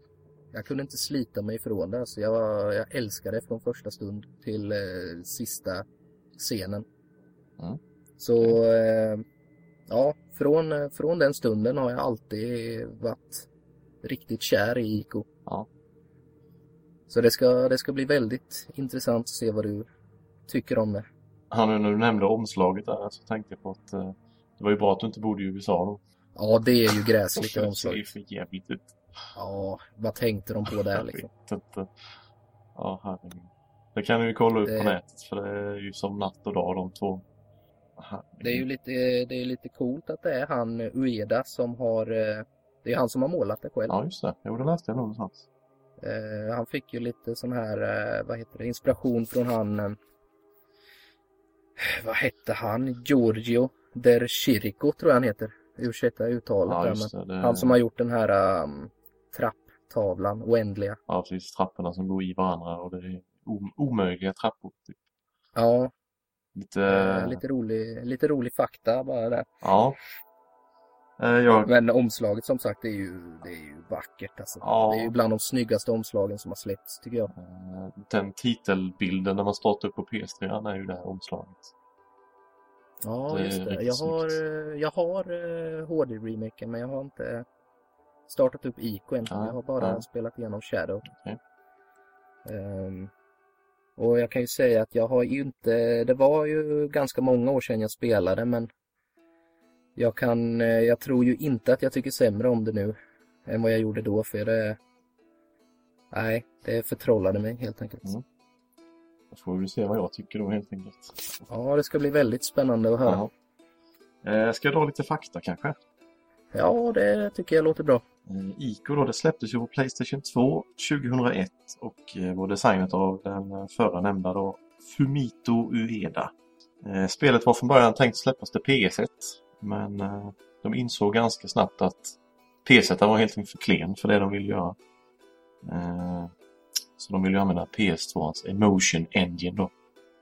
[SPEAKER 1] jag kunde inte slita mig ifrån det. Alltså jag, var, jag älskade det från första stund till eh, sista scenen.
[SPEAKER 2] Mm.
[SPEAKER 1] Så eh, ja, från, eh, från den stunden har jag alltid varit riktigt kär i Iko.
[SPEAKER 2] Ja.
[SPEAKER 1] Så det ska, det ska bli väldigt intressant att se vad du tycker om det.
[SPEAKER 2] Ja, nu när du nämnde omslaget där så tänkte jag på att eh, det var ju bra att du inte bodde i USA då.
[SPEAKER 1] Ja, det är ju gräsligt
[SPEAKER 2] Det ser
[SPEAKER 1] omslag.
[SPEAKER 2] ju för jävligt ut.
[SPEAKER 1] Ja, vad tänkte de på där
[SPEAKER 2] Jag
[SPEAKER 1] liksom?
[SPEAKER 2] vet inte. Ja, herregud. Det kan du ju kolla upp
[SPEAKER 1] Det-
[SPEAKER 2] på nätet för det är ju som natt och dag de två. Herregud.
[SPEAKER 1] Det är ju lite, det är lite coolt att det är han eh, Ueda som har... eh, Det är han som har målat det själv.
[SPEAKER 2] Ja, just det. Jo, det läste jag någonstans.
[SPEAKER 1] Eh, han fick ju lite sån här, eh, vad heter det, inspiration från han... eh, Vad hette han? Giorgio Der Chirico tror jag han heter. Ursäkta uttalet
[SPEAKER 2] Ja,
[SPEAKER 1] där,
[SPEAKER 2] just det. det...
[SPEAKER 1] men han som har gjort den här um, trapptavlan, oändliga.
[SPEAKER 2] Ja, precis. Trapporna som går i varandra och det är o- omöjliga trappor. Typ.
[SPEAKER 1] Ja,
[SPEAKER 2] Lite...
[SPEAKER 1] eh, lite, rolig, lite rolig fakta bara där.
[SPEAKER 2] Ja. Eh, Jag...
[SPEAKER 1] Men omslaget som sagt, det är ju, det är ju vackert alltså.
[SPEAKER 2] Ja.
[SPEAKER 1] Det är ju bland de snyggaste omslagen som har släppts tycker jag.
[SPEAKER 2] eh, Den titelbilden när man startar upp på PS3 är ju det här omslaget.
[SPEAKER 1] Ja,
[SPEAKER 2] Det är
[SPEAKER 1] just det.
[SPEAKER 2] riktigt
[SPEAKER 1] Jag har, eh, jag har eh, HD-remaken men jag har inte startat upp Ico än.
[SPEAKER 2] Ja,
[SPEAKER 1] jag har bara
[SPEAKER 2] ja.
[SPEAKER 1] spelat igenom Shadow.
[SPEAKER 2] Okej.
[SPEAKER 1] Ehm, och jag kan ju säga att jag har ju inte... Det var ju ganska många år sedan jag spelade men jag kan... eh, Jag tror ju inte att jag tycker sämre om det nu än vad jag gjorde då för det... Nej, det förtrollade mig helt enkelt.
[SPEAKER 2] Mm. Då får vi se vad jag tycker då helt enkelt.
[SPEAKER 1] Ja, det ska bli väldigt spännande att höra.
[SPEAKER 2] Ja. Eh, Ska jag dra lite fakta kanske?
[SPEAKER 1] Ja, det tycker jag låter bra.
[SPEAKER 2] Eh, Ico då, det släpptes ju på Playstation 2 2001 och eh, var designat av den eh, förra nämnda då, Fumito Ueda. Eh, Spelet var från början tänkt att släppas till PS1 men eh, de insåg ganska snabbt att PS1 var helt enkelt för klen för det de ville göra. Eh, Så de ville ju använda PS2ans Emotion Engine då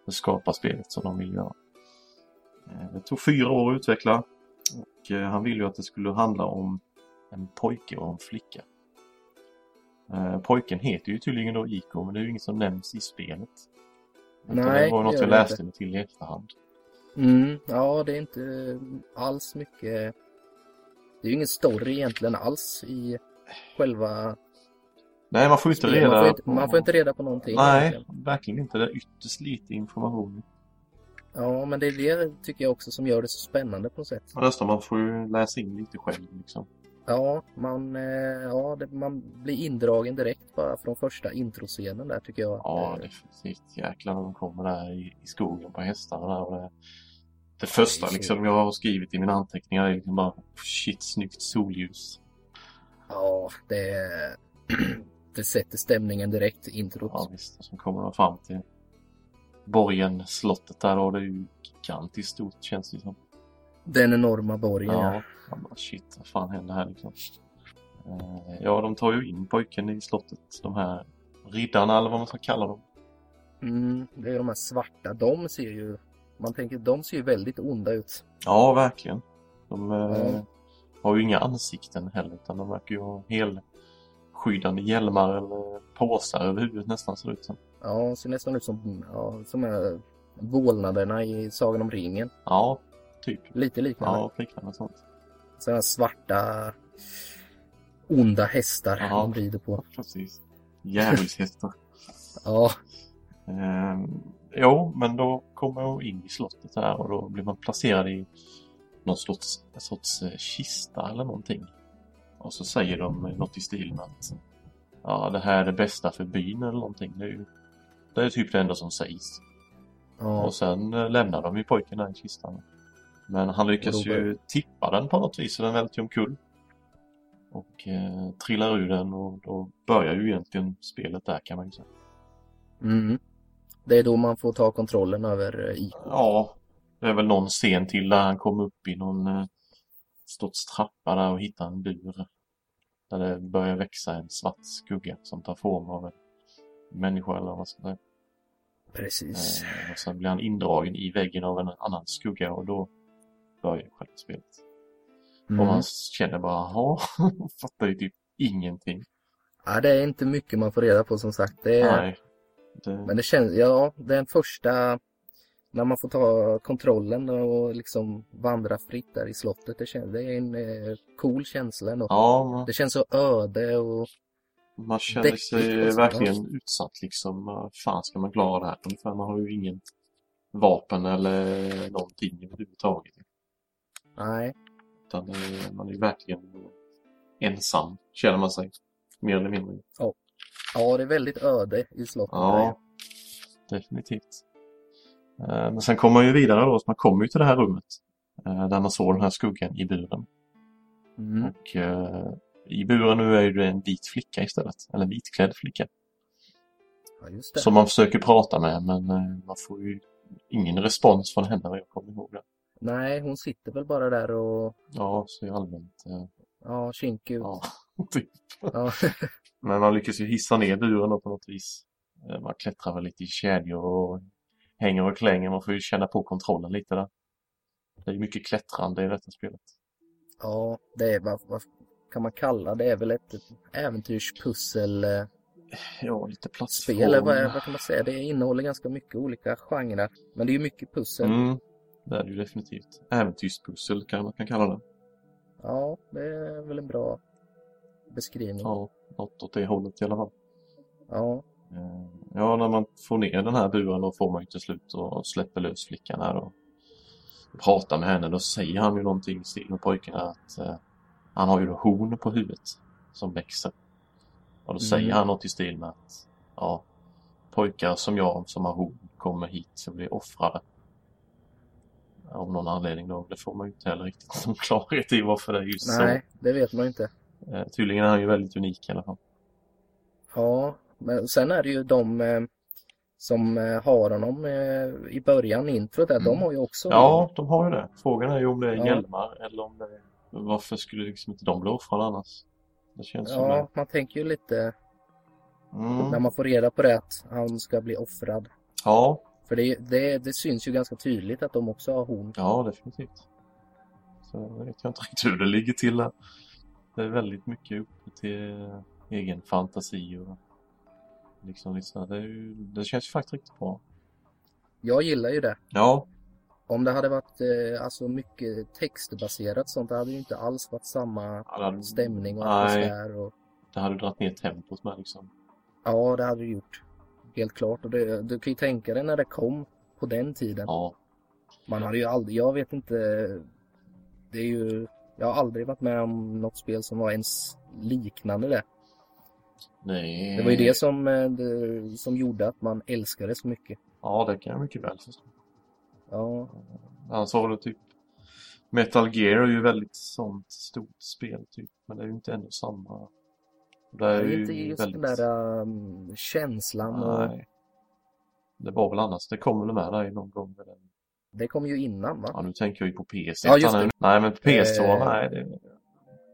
[SPEAKER 2] för att skapa spelet som de ville göra. Eh, Det tog fyra år att utveckla och eh, han ville ju att det skulle handla om en pojke och en flicka. Eh, pojken heter ju tydligen då Iko, men det är ju inget som nämns i spelet. Utan
[SPEAKER 1] Nej,
[SPEAKER 2] det
[SPEAKER 1] det
[SPEAKER 2] var ju något
[SPEAKER 1] gör
[SPEAKER 2] jag
[SPEAKER 1] det
[SPEAKER 2] läste mig till i efterhand.
[SPEAKER 1] Mm, ja, det är inte alls mycket... Det är ju ingen story egentligen alls i själva...
[SPEAKER 2] Nej, man får ju inte
[SPEAKER 1] spelet.
[SPEAKER 2] reda
[SPEAKER 1] man, får inte,
[SPEAKER 2] på-
[SPEAKER 1] man får inte reda på någonting.
[SPEAKER 2] Nej,
[SPEAKER 1] egentligen.
[SPEAKER 2] verkligen inte. Det är ytterst lite information.
[SPEAKER 1] Ja, men det är det tycker jag också som gör det så spännande på något sätt.
[SPEAKER 2] Och Dessutom, man får ju läsa in lite själv liksom.
[SPEAKER 1] Ja, man, eh, ja, det, man blir indragen direkt bara från första introscenen där tycker jag.
[SPEAKER 2] Ja,
[SPEAKER 1] Eh,
[SPEAKER 2] definitivt. Jäklar när de kommer där i, i skogen på hästarna där. Och det, det första
[SPEAKER 1] Ja, det är så.
[SPEAKER 2] liksom jag har skrivit i mina anteckningar är liksom bara shit, snyggt solljus.
[SPEAKER 1] ja det, det sätter stämningen direkt, introt.
[SPEAKER 2] Ja visst, och sen kommer de fram till borgen, slottet där och det är ju gigantiskt stort känns det som.
[SPEAKER 1] Den enorma borgen. Ja.
[SPEAKER 2] Ja, man bara, shit vad fan händer här liksom. Eh, Ja, de tar ju in pojken i slottet, de här riddarna eller vad man ska kalla dem.
[SPEAKER 1] Mm, det är de här svarta, de ser ju... Man tänker, de ser ju väldigt onda ut.
[SPEAKER 2] Ja, verkligen. De eh,
[SPEAKER 1] Mm.
[SPEAKER 2] har ju inga ansikten heller utan de verkar ju ha helskyddande hjälmar eller påsar över huvudet nästan ser det ut som.
[SPEAKER 1] Ja, ser nästan ut som, ja, som eh, vålnaderna i Sagan om ringen.
[SPEAKER 2] Ja, typ.
[SPEAKER 1] Lite liknande.
[SPEAKER 2] Ja, liknande sånt.
[SPEAKER 1] Sådana svarta onda hästar
[SPEAKER 2] Ja.
[SPEAKER 1] de rider på.
[SPEAKER 2] Precis. Djävulshästar.
[SPEAKER 1] Ja,
[SPEAKER 2] Ehm, jo, men då kommer hon in i slottet här och då blir man placerad i någon sorts, sorts eh, kista eller någonting. Och så säger de eh, något i stil med att ja, det här är det bästa för byn eller någonting. Det är, ju, det är typ det enda som sägs.
[SPEAKER 1] ja.
[SPEAKER 2] Och sen eh, lämnar de ju pojken där i kistan. Men han lyckas
[SPEAKER 1] Och då börjar-
[SPEAKER 2] ju tippa den på något vis så den välter ju omkull. Och eh, trillar ur den och då börjar ju egentligen spelet där kan man ju säga.
[SPEAKER 1] Mm. Det är då man får ta kontrollen över eh, IK.
[SPEAKER 2] Ja, det är väl någon scen till där han kom upp i någon eh, sorts trappa där och hittar en bur. Där det börjar växa en svart skugga som tar form av en människa eller vad man ska säga.
[SPEAKER 1] Precis.
[SPEAKER 2] Eh, Och sen blir han indragen i väggen av en annan skugga och då börjar själva spelet.
[SPEAKER 1] Mm.
[SPEAKER 2] Mm. Och man känner bara, ja, fattar ju typ ingenting.
[SPEAKER 1] Ja, det är inte mycket man får reda på som sagt. Det är,
[SPEAKER 2] Nej. Det...
[SPEAKER 1] men det känns, ja, den första... När man får ta kontrollen och liksom vandra fritt där i slottet. Det, känns, det är en eh, cool känsla ändå.
[SPEAKER 2] Ja, man,
[SPEAKER 1] Det känns så öde och...
[SPEAKER 2] man känner
[SPEAKER 1] däckigt och
[SPEAKER 2] sig
[SPEAKER 1] sådär.
[SPEAKER 2] verkligen utsatt liksom. Vad Fan ska man klara det här? Ungefär, man har ju inget vapen eller någonting överhuvudtaget.
[SPEAKER 1] Nej.
[SPEAKER 2] Utan det- man är ju verkligen ensam, känner man sig. Mer eller mindre.
[SPEAKER 1] Ja, det är väldigt öde i slottet. där.
[SPEAKER 2] Ja, definitivt. Eh, Men sen kommer man ju vidare då, så man kommer ju till det här rummet. eh, Där man såg den här skuggan i buren.
[SPEAKER 1] Mm.
[SPEAKER 2] Och eh, i buren nu är ju det en vit flicka istället. Eller en vitklädd flicka.
[SPEAKER 1] ja, just det.
[SPEAKER 2] Som man försöker prata med men eh, man får ju ingen respons från henne vad jag kommer ihåg det.
[SPEAKER 1] Nej, hon sitter väl bara där och...
[SPEAKER 2] Ja, så är allmänt... eh,
[SPEAKER 1] Ja, kink ut.
[SPEAKER 2] Ja, typ.
[SPEAKER 1] Ja.
[SPEAKER 2] Men man lyckas ju hissa ner buren då på något vis. Eh, Man klättrar väl lite i kedjor och hänger och klänger. Man får ju känna på kontrollen lite där. Det är ju mycket klättrande i detta spelet.
[SPEAKER 1] Ja, det är vad, vad kan man kalla det? Det är väl ett äventyrspussel eh,
[SPEAKER 2] Ja, lite plattform.
[SPEAKER 1] spel eller vad, är- vad kan man säga? Det innehåller ganska mycket olika genrer. Men det är ju mycket pussel.
[SPEAKER 2] Mm, det är det ju definitivt. Äventyrspussel kan man kan kalla det.
[SPEAKER 1] Ja, det är väl en bra beskrivning. Ja.
[SPEAKER 2] Ja, något åt det hållet i alla fall. Eh, Ja, när man får ner den här buren då får man ju till slut och släpper lös flickan här och pratar med henne. Då säger han ju någonting i stil med pojken här att eh, han har ju då horn på huvudet som växer. Och då säger
[SPEAKER 1] Mm.
[SPEAKER 2] han något i stil med att ja, pojkar som jag som har horn kommer hit och blir offrade. Av någon anledning då. Det får man ju inte heller riktigt någon klarhet i varför det är just
[SPEAKER 1] Nej, det vet man ju inte.
[SPEAKER 2] så. Eh, tydligen är han ju väldigt unik i alla fall.
[SPEAKER 1] Ja, men sen är det ju de eh, som eh, har honom eh, i början, introt där, de
[SPEAKER 2] Mm.
[SPEAKER 1] har ju också...
[SPEAKER 2] Ja, de har ju det. Frågan är ju om det är
[SPEAKER 1] Ja.
[SPEAKER 2] hjälmar eller om det är... Varför skulle liksom inte de bli offrade annars? Det känns som det.
[SPEAKER 1] Ja, man tänker ju lite när
[SPEAKER 2] Mm.
[SPEAKER 1] man får reda på det att han ska bli offrad.
[SPEAKER 2] Ja,
[SPEAKER 1] För det, det, det syns ju ganska tydligt att de också har horn.
[SPEAKER 2] ja, definitivt. Så jag vet jag inte riktigt hur det ligger till där. Det är väldigt mycket upp till eh, egen fantasi och liksom lite så här. det, är ju, det känns ju faktiskt riktigt bra.
[SPEAKER 1] Jag gillar ju det.
[SPEAKER 2] Ja,
[SPEAKER 1] Om det hade varit eh, alltså mycket textbaserat sånt, det hade ju inte alls varit samma
[SPEAKER 2] det hade,
[SPEAKER 1] stämning och
[SPEAKER 2] Nej.
[SPEAKER 1] atmosfär. Och,
[SPEAKER 2] det hade dragit ner tempot med liksom.
[SPEAKER 1] ja, det hade det gjort. Helt klart. Och det, du kan ju tänka dig när det kom på den tiden.
[SPEAKER 2] Ja,
[SPEAKER 1] Man hade ju aldrig, jag vet inte. Det är ju, jag har aldrig varit med om något spel som var ens liknande det.
[SPEAKER 2] nej.
[SPEAKER 1] Det var ju det som, eh, det, som gjorde att man älskade så mycket.
[SPEAKER 2] Ja, det kan jag mycket väl förstå.
[SPEAKER 1] Ja,
[SPEAKER 2] Han sa väl typ Metal Gear är ju väldigt sånt stort spel typ. Men det är ju inte ändå samma. Det
[SPEAKER 1] det
[SPEAKER 2] är
[SPEAKER 1] är
[SPEAKER 2] ju
[SPEAKER 1] inte just
[SPEAKER 2] väldigt...
[SPEAKER 1] den där um, känslan. Och,
[SPEAKER 2] Nej. Det var väl annars. Det kommer väl med dig någon gång. Med den.
[SPEAKER 1] det kom ju innan va?
[SPEAKER 2] Ja, nu tänker jag ju på PS1.
[SPEAKER 1] Ja, just
[SPEAKER 2] nu.
[SPEAKER 1] det.
[SPEAKER 2] Nej, men PS2.
[SPEAKER 1] Eh.
[SPEAKER 2] Nej, det... nej,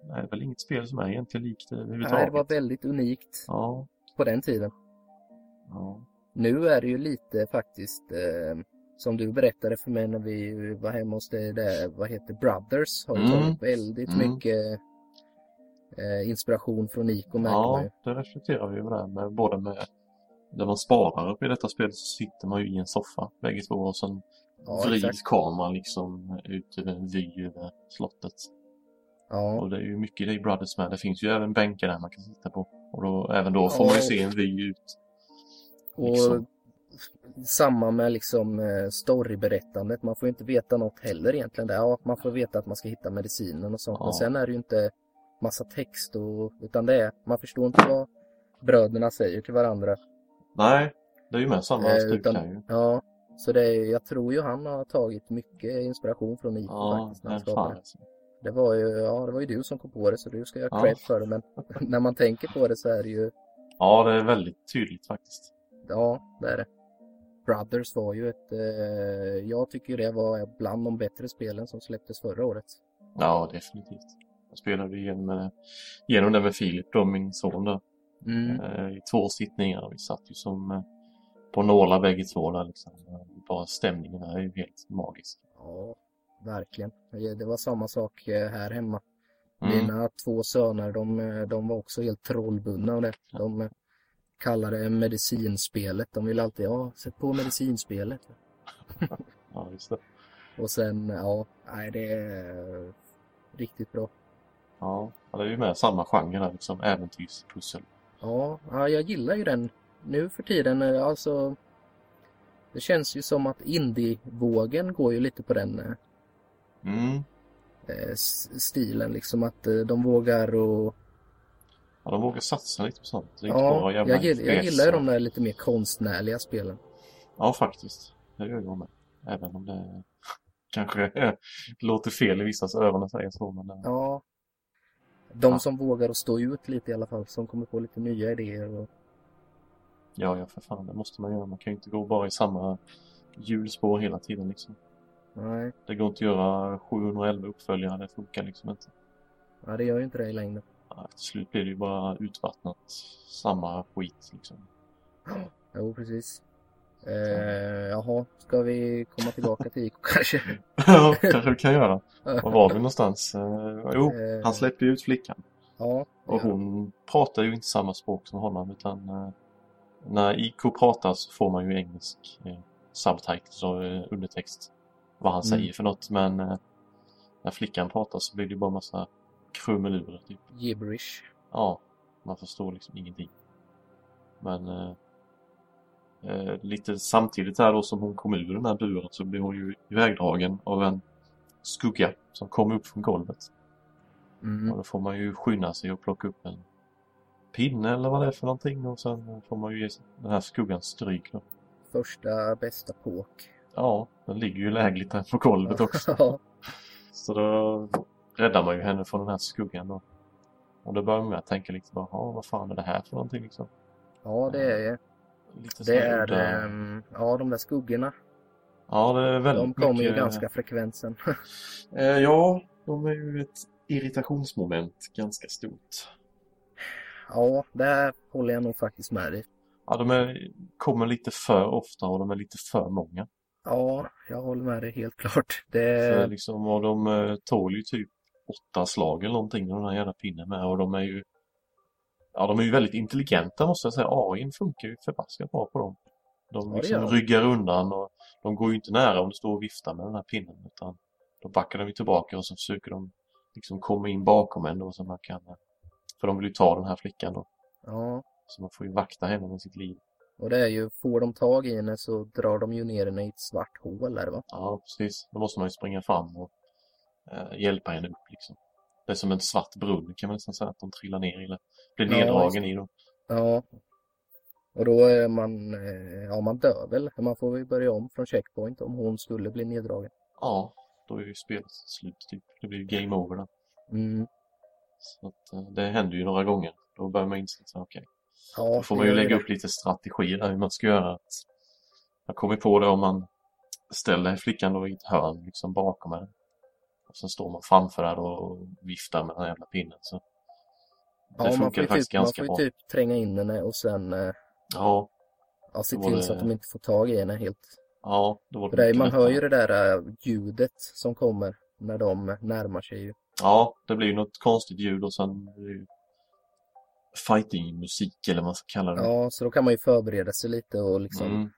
[SPEAKER 2] det är väl inget spel som är egentligen likt det
[SPEAKER 1] Nej, det
[SPEAKER 2] överhuvudtaget.
[SPEAKER 1] var väldigt unikt
[SPEAKER 2] Ja,
[SPEAKER 1] på den tiden.
[SPEAKER 2] ja.
[SPEAKER 1] Nu är det ju lite faktiskt eh, som du berättade för mig när vi var hemma hos dig där, vad heter Brothers har ju
[SPEAKER 2] Mm.
[SPEAKER 1] tagit väldigt
[SPEAKER 2] Mm.
[SPEAKER 1] mycket eh, inspiration från Ico märker man
[SPEAKER 2] ja
[SPEAKER 1] ju.
[SPEAKER 2] det reflekterar vi ju där med. Både med när man sparar upp i detta spelet så sitter man ju i en soffa bägge två och sen
[SPEAKER 1] Ja,
[SPEAKER 2] vrid
[SPEAKER 1] exakt.
[SPEAKER 2] kameran liksom ut över en vy över slottet.
[SPEAKER 1] Ja,
[SPEAKER 2] Och det är ju mycket i Brothers med. Det finns ju även bänkar där man kan sitta på. Och då, även då får
[SPEAKER 1] Ja.
[SPEAKER 2] man ju se en vy ut.
[SPEAKER 1] och
[SPEAKER 2] liksom.
[SPEAKER 1] samma med liksom eh, storyberättandet. Man får ju inte veta något heller egentligen. Där. Ja, man får veta att man ska hitta medicinen och sånt.
[SPEAKER 2] Ja.
[SPEAKER 1] Men sen är det ju inte massa text och, utan det är, man förstår inte vad bröderna säger till varandra.
[SPEAKER 2] Nej, det är ju med samma typ
[SPEAKER 1] Eh,
[SPEAKER 2] stuk
[SPEAKER 1] utan-
[SPEAKER 2] här ju.
[SPEAKER 1] Ja, så det är, jag tror ju han har tagit mycket inspiration från Ico
[SPEAKER 2] Ja,
[SPEAKER 1] faktiskt. När han
[SPEAKER 2] men
[SPEAKER 1] skapade
[SPEAKER 2] fan
[SPEAKER 1] det.
[SPEAKER 2] alltså.
[SPEAKER 1] Det, var ju, ja, det var ju du som kom på det så du ska jag ha
[SPEAKER 2] Ja.
[SPEAKER 1] cred för det. Men när man tänker på det så är det ju,
[SPEAKER 2] Ja, det är väldigt tydligt faktiskt.
[SPEAKER 1] ja det är det. Brothers var ju ett, eh, jag tycker det var bland de bättre spelen som släpptes förra året.
[SPEAKER 2] Ja, definitivt. Jag spelade igenom, med, igenom det med Filip då, min son där.
[SPEAKER 1] Mm.
[SPEAKER 2] eh, i två sittningar. Vi satt ju som eh, på nålar bägge två där liksom. Eh, Bara stämningen är ju helt magisk.
[SPEAKER 1] Ja, Verkligen. Det var samma sak eh, här hemma.
[SPEAKER 2] Mm.
[SPEAKER 1] Mina två söner, de, eh, de var också helt trollbundna av det. De eh, kallade det medicinspelet. De ville alltid, ja, sätt på medicinspelet.
[SPEAKER 2] Ja, just det.
[SPEAKER 1] Och sen, ja, nej det är eh, riktigt bra.
[SPEAKER 2] Ja, ja, det är ju med samma genre där liksom. Äventyrspussel.
[SPEAKER 1] Ja, ja, jag gillar ju den nu för tiden. eh, Alltså, det känns ju som att indievågen går ju lite på den eh,
[SPEAKER 2] Mm.
[SPEAKER 1] eh, s- stilen. Liksom att eh, de vågar och...
[SPEAKER 2] Ja, de vågar satsa lite på sånt. Det är inte
[SPEAKER 1] Ja,
[SPEAKER 2] bara
[SPEAKER 1] jag,
[SPEAKER 2] jävla
[SPEAKER 1] gill- jag
[SPEAKER 2] FPS.
[SPEAKER 1] gillar ju de där lite mer konstnärliga spelen.
[SPEAKER 2] Ja, faktiskt. Det gör jag med. Även om det kanske låter fel i vissas öron att säga så. Men eh,
[SPEAKER 1] Ja. De
[SPEAKER 2] Ja.
[SPEAKER 1] som vågar att stå ut lite i alla fall, som kommer på lite nya idéer. Och...
[SPEAKER 2] ja, ja, för fan. Det måste man göra. Man kan ju inte gå bara i samma hjulspår hela tiden liksom.
[SPEAKER 1] Nej,
[SPEAKER 2] Det går inte att göra 711 uppföljare. Det funkar liksom inte.
[SPEAKER 1] ja, det gör ju inte det i längden.
[SPEAKER 2] Ja, till slut blir det ju bara utvattnat. Samma skit liksom.
[SPEAKER 1] Jo, precis. Eh, jaha, ska vi komma tillbaka till Ico kanske?
[SPEAKER 2] Ja, kanske vi kan göra. Var var vi någonstans? Eh, Jo,
[SPEAKER 1] Eh,
[SPEAKER 2] han släpper ju ut flickan.
[SPEAKER 1] Ja, ja.
[SPEAKER 2] Och hon pratar ju inte samma språk som honom utan eh, när IK pratar så får man ju engelsk eh, subtitles och eh, undertext vad han
[SPEAKER 1] Mm.
[SPEAKER 2] säger för något men eh, när flickan pratar så blir det ju bara massa krumelurer typ.
[SPEAKER 1] gibberish.
[SPEAKER 2] Ja, man förstår liksom ingenting. Men eh, eh, lite samtidigt här då som hon kom ur den här buren så blev hon ju ivägdragen av en skugga som kom upp från golvet. Och
[SPEAKER 1] Mm.
[SPEAKER 2] då får man ju skynda sig och plocka upp en pinne eller vad det är för någonting och sen får man ju ge den här skuggan stryk då.
[SPEAKER 1] Första bästa påk.
[SPEAKER 2] Ja, den ligger ju lägligt där på golvet också.
[SPEAKER 1] Ja,
[SPEAKER 2] Så då räddar man ju henne från den här skuggan då. Och då börjar man med att tänka liksom bara, "Ja, vad fan är det här för någonting liksom?
[SPEAKER 1] ja det är
[SPEAKER 2] Lite
[SPEAKER 1] det.
[SPEAKER 2] så här
[SPEAKER 1] är,
[SPEAKER 2] udda-
[SPEAKER 1] ehm, ja, de där skuggorna.
[SPEAKER 2] Ja, det är väldigt
[SPEAKER 1] De kommer ju
[SPEAKER 2] mycket-
[SPEAKER 1] ganska frekvent sen.
[SPEAKER 2] Eh, ja, de är ju ett irritationsmoment ganska stort.
[SPEAKER 1] Ja, där håller jag nog faktiskt med dig.
[SPEAKER 2] Ja, de är, kommer lite för ofta och de är lite för många.
[SPEAKER 1] Ja, jag håller med dig helt klart.
[SPEAKER 2] Så
[SPEAKER 1] Det,
[SPEAKER 2] liksom, och de eh, tål ju typ åtta slag eller någonting den här jävla pinnen med och de är ju Ja, de är ju väldigt intelligenta måste jag säga. AIn funkar ju förbaskat bra på dem.
[SPEAKER 1] Ja,
[SPEAKER 2] De
[SPEAKER 1] det
[SPEAKER 2] liksom
[SPEAKER 1] gör de.
[SPEAKER 2] ryggar undan och de går ju inte nära om du står och viftar med den här pinnen utan då backar de ju tillbaka och så försöker de liksom komma in bakom en då så man kan eh, För de vill ju ta den här flickan då.
[SPEAKER 1] ja,
[SPEAKER 2] Så man får ju vakta henne med sitt liv.
[SPEAKER 1] och det är ju, får de tag i henne så drar de ju ner henne i ett svart hål där va?
[SPEAKER 2] Ja, precis. Då måste man ju springa fram och eh, hjälpa henne upp liksom. Det är som en svart brunn kan man nästan säga att de trillar ner i. Eller blir
[SPEAKER 1] Ja,
[SPEAKER 2] neddragen i dem.
[SPEAKER 1] Ja. Och då är man, eh, ja man dör väl. Man får väl börja om från checkpoint om hon skulle bli neddragen.
[SPEAKER 2] Ja, då är ju spelet slut typ. Det blir ju game over då.
[SPEAKER 1] Mm.
[SPEAKER 2] Så att, eh, det händer ju några gånger. Då börjar man inse att okej,
[SPEAKER 1] Ja,
[SPEAKER 2] då får
[SPEAKER 1] det
[SPEAKER 2] man ju
[SPEAKER 1] gör
[SPEAKER 2] lägga
[SPEAKER 1] det.
[SPEAKER 2] upp lite strategier där hur man ska göra. Att jag kommer på det om man ställer flickan då i ett hörn liksom bakom henne. Och sen står man framför henne och viftar med den här jävla pinnen. Så det
[SPEAKER 1] Ja, man
[SPEAKER 2] funkar
[SPEAKER 1] får ju
[SPEAKER 2] faktiskt
[SPEAKER 1] typ, man
[SPEAKER 2] ganska
[SPEAKER 1] får ju
[SPEAKER 2] bra.
[SPEAKER 1] typ tränga in henne och sen eh,
[SPEAKER 2] Ja,
[SPEAKER 1] ja, se
[SPEAKER 2] Det var
[SPEAKER 1] till
[SPEAKER 2] det-
[SPEAKER 1] så att de inte får tag i henne helt.
[SPEAKER 2] ja, då var det
[SPEAKER 1] För det, är-
[SPEAKER 2] mycket
[SPEAKER 1] man hör
[SPEAKER 2] lättare.
[SPEAKER 1] ju det där eh, ljudet som kommer när de närmar sig ju.
[SPEAKER 2] Ja, det blir ju något konstigt ljud och sen är det ju fighting-musik eller vad man ska kalla det.
[SPEAKER 1] Ja, så då kan man ju förbereda sig lite och liksom
[SPEAKER 2] mm.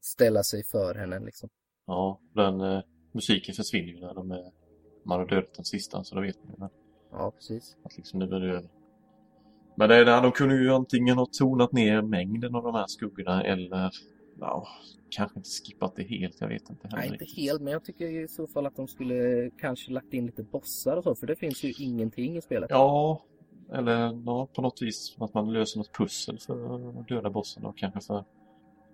[SPEAKER 1] ställa sig för henne liksom.
[SPEAKER 2] ja den eh, musiken försvinner ju när de är, man har dödat den sista, så då vet man ju
[SPEAKER 1] Ja, precis.
[SPEAKER 2] att liksom nu är det över. Men det är där, de kunde ju antingen ha tonat ner mängden av de här skuggorna eller ja, kanske inte skippat det helt, jag vet inte heller.
[SPEAKER 1] Nej, inte
[SPEAKER 2] riktigt.
[SPEAKER 1] helt, men jag tycker ju i så fall att de skulle kanske lagt in lite bossar och så, för det finns ju ingenting i spelet.
[SPEAKER 2] Ja, eller ja, på något vis att man löser något pussel för att döda bossen då kanske för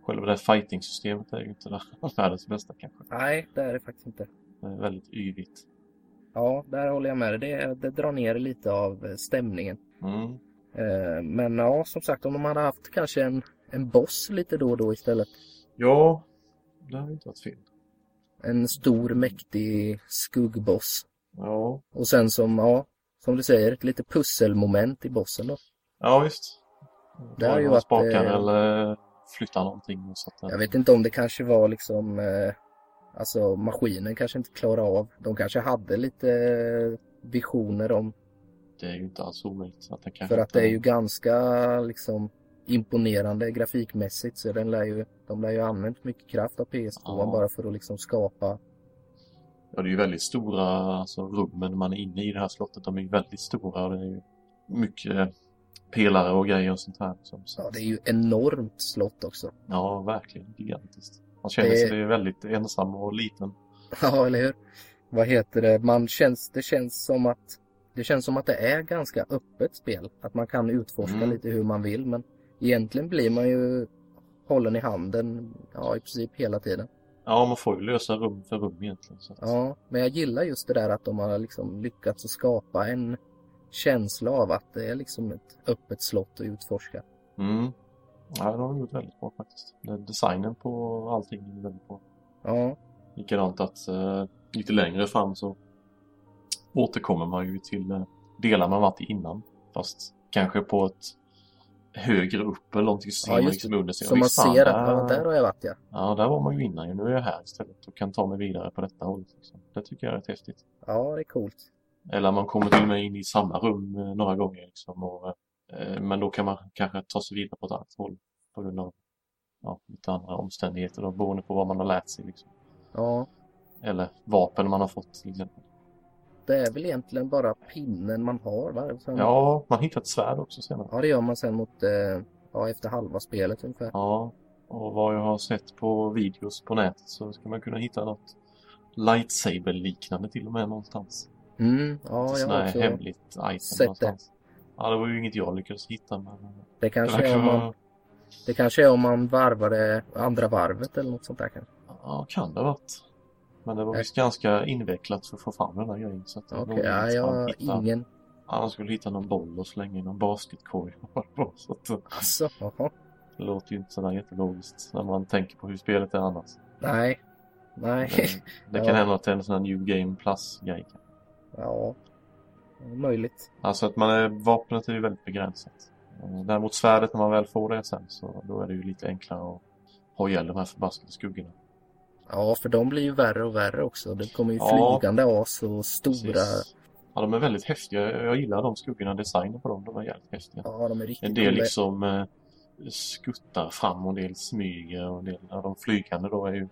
[SPEAKER 2] själva det här fighting-systemet är ju inte det världens bästa kanske.
[SPEAKER 1] Nej, det är det faktiskt inte.
[SPEAKER 2] Det är väldigt yvigt.
[SPEAKER 1] Ja, där håller jag med dig. Det, det drar ner lite av eh, stämningen.
[SPEAKER 2] Mm.
[SPEAKER 1] Eh, Men ja, som sagt, om de hade haft kanske en, en boss lite då och då istället.
[SPEAKER 2] Ja, det har ju inte varit fel.
[SPEAKER 1] En stor, mäktig skuggboss.
[SPEAKER 2] Ja,
[SPEAKER 1] Och sen som, ja, som du säger, ett lite pusselmoment i bossen då.
[SPEAKER 2] ja visst.
[SPEAKER 1] Det har
[SPEAKER 2] Dra
[SPEAKER 1] ju
[SPEAKER 2] några
[SPEAKER 1] varit,
[SPEAKER 2] spakar
[SPEAKER 1] eh,
[SPEAKER 2] eller flytta någonting så att den-
[SPEAKER 1] Jag vet inte om det kanske var liksom eh, Alltså maskinen kanske inte klarar av. De kanske hade lite eh, visioner om
[SPEAKER 2] Det är ju inte alls omöjligt att den kan
[SPEAKER 1] För att
[SPEAKER 2] hitta
[SPEAKER 1] det är ju ganska liksom imponerande grafikmässigt så den lär ju, de lär ju ha använt mycket kraft av PS2
[SPEAKER 2] Ja.
[SPEAKER 1] bara för att liksom skapa.
[SPEAKER 2] Ja, det är ju väldigt stora alltså, rummen man är inne i det här slottet. De är ju väldigt stora och det är ju mycket eh, pelare och grejer och sånt här. Som, så.
[SPEAKER 1] Ja, det är ju enormt slott också.
[SPEAKER 2] ja, verkligen gigantiskt. Man känner
[SPEAKER 1] Det-
[SPEAKER 2] sig det är väldigt ensam och liten.
[SPEAKER 1] Ja, eller hur? Vad heter det? Man känns, det känns som att det känns som att det är ganska öppet spel. Att man kan utforska
[SPEAKER 2] Mm.
[SPEAKER 1] lite hur man vill men egentligen blir man ju hållen i handen ja, i princip hela tiden.
[SPEAKER 2] Ja, man får ju lösa rum för rum egentligen. Så att,
[SPEAKER 1] Ja, men jag gillar just det där att de har liksom lyckats att skapa en känsla av att det är liksom ett öppet slott att utforska.
[SPEAKER 2] mm. ja, de har gjort väldigt bra faktiskt. Den- Designen på allting är väldigt bra.
[SPEAKER 1] Ja,
[SPEAKER 2] Likadant att eh, lite längre fram så återkommer man ju till eh, delar man varit i innan. Fast kanske på ett högre upp eller någonting så
[SPEAKER 1] Ja,
[SPEAKER 2] ser man
[SPEAKER 1] just
[SPEAKER 2] liksom under sig.
[SPEAKER 1] så
[SPEAKER 2] "Oj,
[SPEAKER 1] man
[SPEAKER 2] fan, äh.
[SPEAKER 1] ser att ja, där har jag varit ja.
[SPEAKER 2] Ja, där var man ju innan. ju. Nu är jag här istället och kan ta mig vidare på detta hållet. Liksom. Det tycker jag är rätt häftigt.
[SPEAKER 1] Ja, det är coolt.
[SPEAKER 2] Eller man kommer till och med in i samma rum eh, några gånger. Liksom, och, eh, men då kan man kanske ta sig vidare på ett annat håll på grund av ja, lite andra omständigheter då, beroende på vad man har lärt sig. Liksom.
[SPEAKER 1] Ja,
[SPEAKER 2] Eller vapen man har fått till exempel.
[SPEAKER 1] det är väl egentligen bara pinnen man har va? Sen,
[SPEAKER 2] Ja, man hittar ett svärd också senare.
[SPEAKER 1] ja, det gör man sen mot, eh, ja, efter halva spelet ungefär.
[SPEAKER 2] Ja, och vad jag har sett på videos på nätet så ska man kunna hitta något lightsaber-liknande till och med någonstans.
[SPEAKER 1] Mm, ja,
[SPEAKER 2] Ett
[SPEAKER 1] jag
[SPEAKER 2] sånt
[SPEAKER 1] har
[SPEAKER 2] här
[SPEAKER 1] också.
[SPEAKER 2] hemligt item
[SPEAKER 1] sett det.
[SPEAKER 2] någonstans. Ja, det var ju inget jag lyckades hitta men
[SPEAKER 1] Det
[SPEAKER 2] det
[SPEAKER 1] kanske, är
[SPEAKER 2] verkar
[SPEAKER 1] om man,
[SPEAKER 2] vara...
[SPEAKER 1] det kanske är om man varvade andra varvet eller något sånt där kanske.
[SPEAKER 2] Ja, kan det ha varit. Men det var
[SPEAKER 1] Nej.
[SPEAKER 2] visst ganska invecklat för att få fram den där grejen. Så att det var
[SPEAKER 1] Okej,
[SPEAKER 2] nog
[SPEAKER 1] ja,
[SPEAKER 2] inget
[SPEAKER 1] jag
[SPEAKER 2] man
[SPEAKER 1] har
[SPEAKER 2] hittar.
[SPEAKER 1] ingen.
[SPEAKER 2] Ja, man skulle hitta någon boll och slänga i någon basketkorg. så att,
[SPEAKER 1] Alltså, jaha.
[SPEAKER 2] det låter ju inte sådär jättelogiskt när man tänker på hur spelet är annars.
[SPEAKER 1] Nej. Nej.
[SPEAKER 2] Det, det
[SPEAKER 1] Ja.
[SPEAKER 2] kan hända att det är en sån här New Game Plus-grej.
[SPEAKER 1] Ja, det är möjligt.
[SPEAKER 2] Alltså att man är, vapnet är ju väldigt begränsat. Eh, Däremot svärdet, när man väl får det sen, så då är det ju lite enklare att ha ihjäl de här förbaskade skuggorna.
[SPEAKER 1] Ja, för de blir ju värre och värre också. Det kommer ju
[SPEAKER 2] Ja.
[SPEAKER 1] flygande as och stora...
[SPEAKER 2] Precis. Ja, de är väldigt häftiga. Jag jag gillar de skuggorna, designen på dem. De är jävligt häftiga.
[SPEAKER 1] Ja, de är riktigt
[SPEAKER 2] En del
[SPEAKER 1] coola.
[SPEAKER 2] liksom eh, skuttar fram och en del smyger och en del, ja, de flygande då är ju...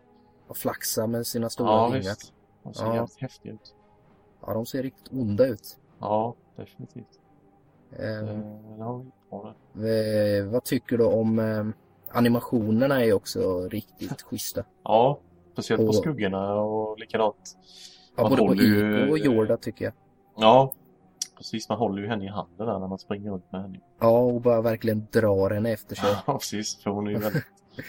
[SPEAKER 1] Och flaxar med sina stora
[SPEAKER 2] ja,
[SPEAKER 1] vingar.
[SPEAKER 2] visst. De ser
[SPEAKER 1] Ja.
[SPEAKER 2] jävligt häftiga ut.
[SPEAKER 1] Ja, de ser riktigt onda ut.
[SPEAKER 2] Ja, definitivt.
[SPEAKER 1] Eh,
[SPEAKER 2] Eh, Det har vi bra där.
[SPEAKER 1] eh, vad tycker du om... Eh, animationerna är också riktigt schyssta.
[SPEAKER 2] Ja, speciellt på
[SPEAKER 1] Och-
[SPEAKER 2] skuggorna och likadant.
[SPEAKER 1] Ja,
[SPEAKER 2] Man
[SPEAKER 1] både på
[SPEAKER 2] håller ju- eh,
[SPEAKER 1] Iko och Jorda tycker jag.
[SPEAKER 2] Ja, precis. Man håller ju henne i handen där när man springer runt med henne.
[SPEAKER 1] Ja, och bara verkligen drar henne efter sig.
[SPEAKER 2] Ja, precis. För hon är ju väldigt...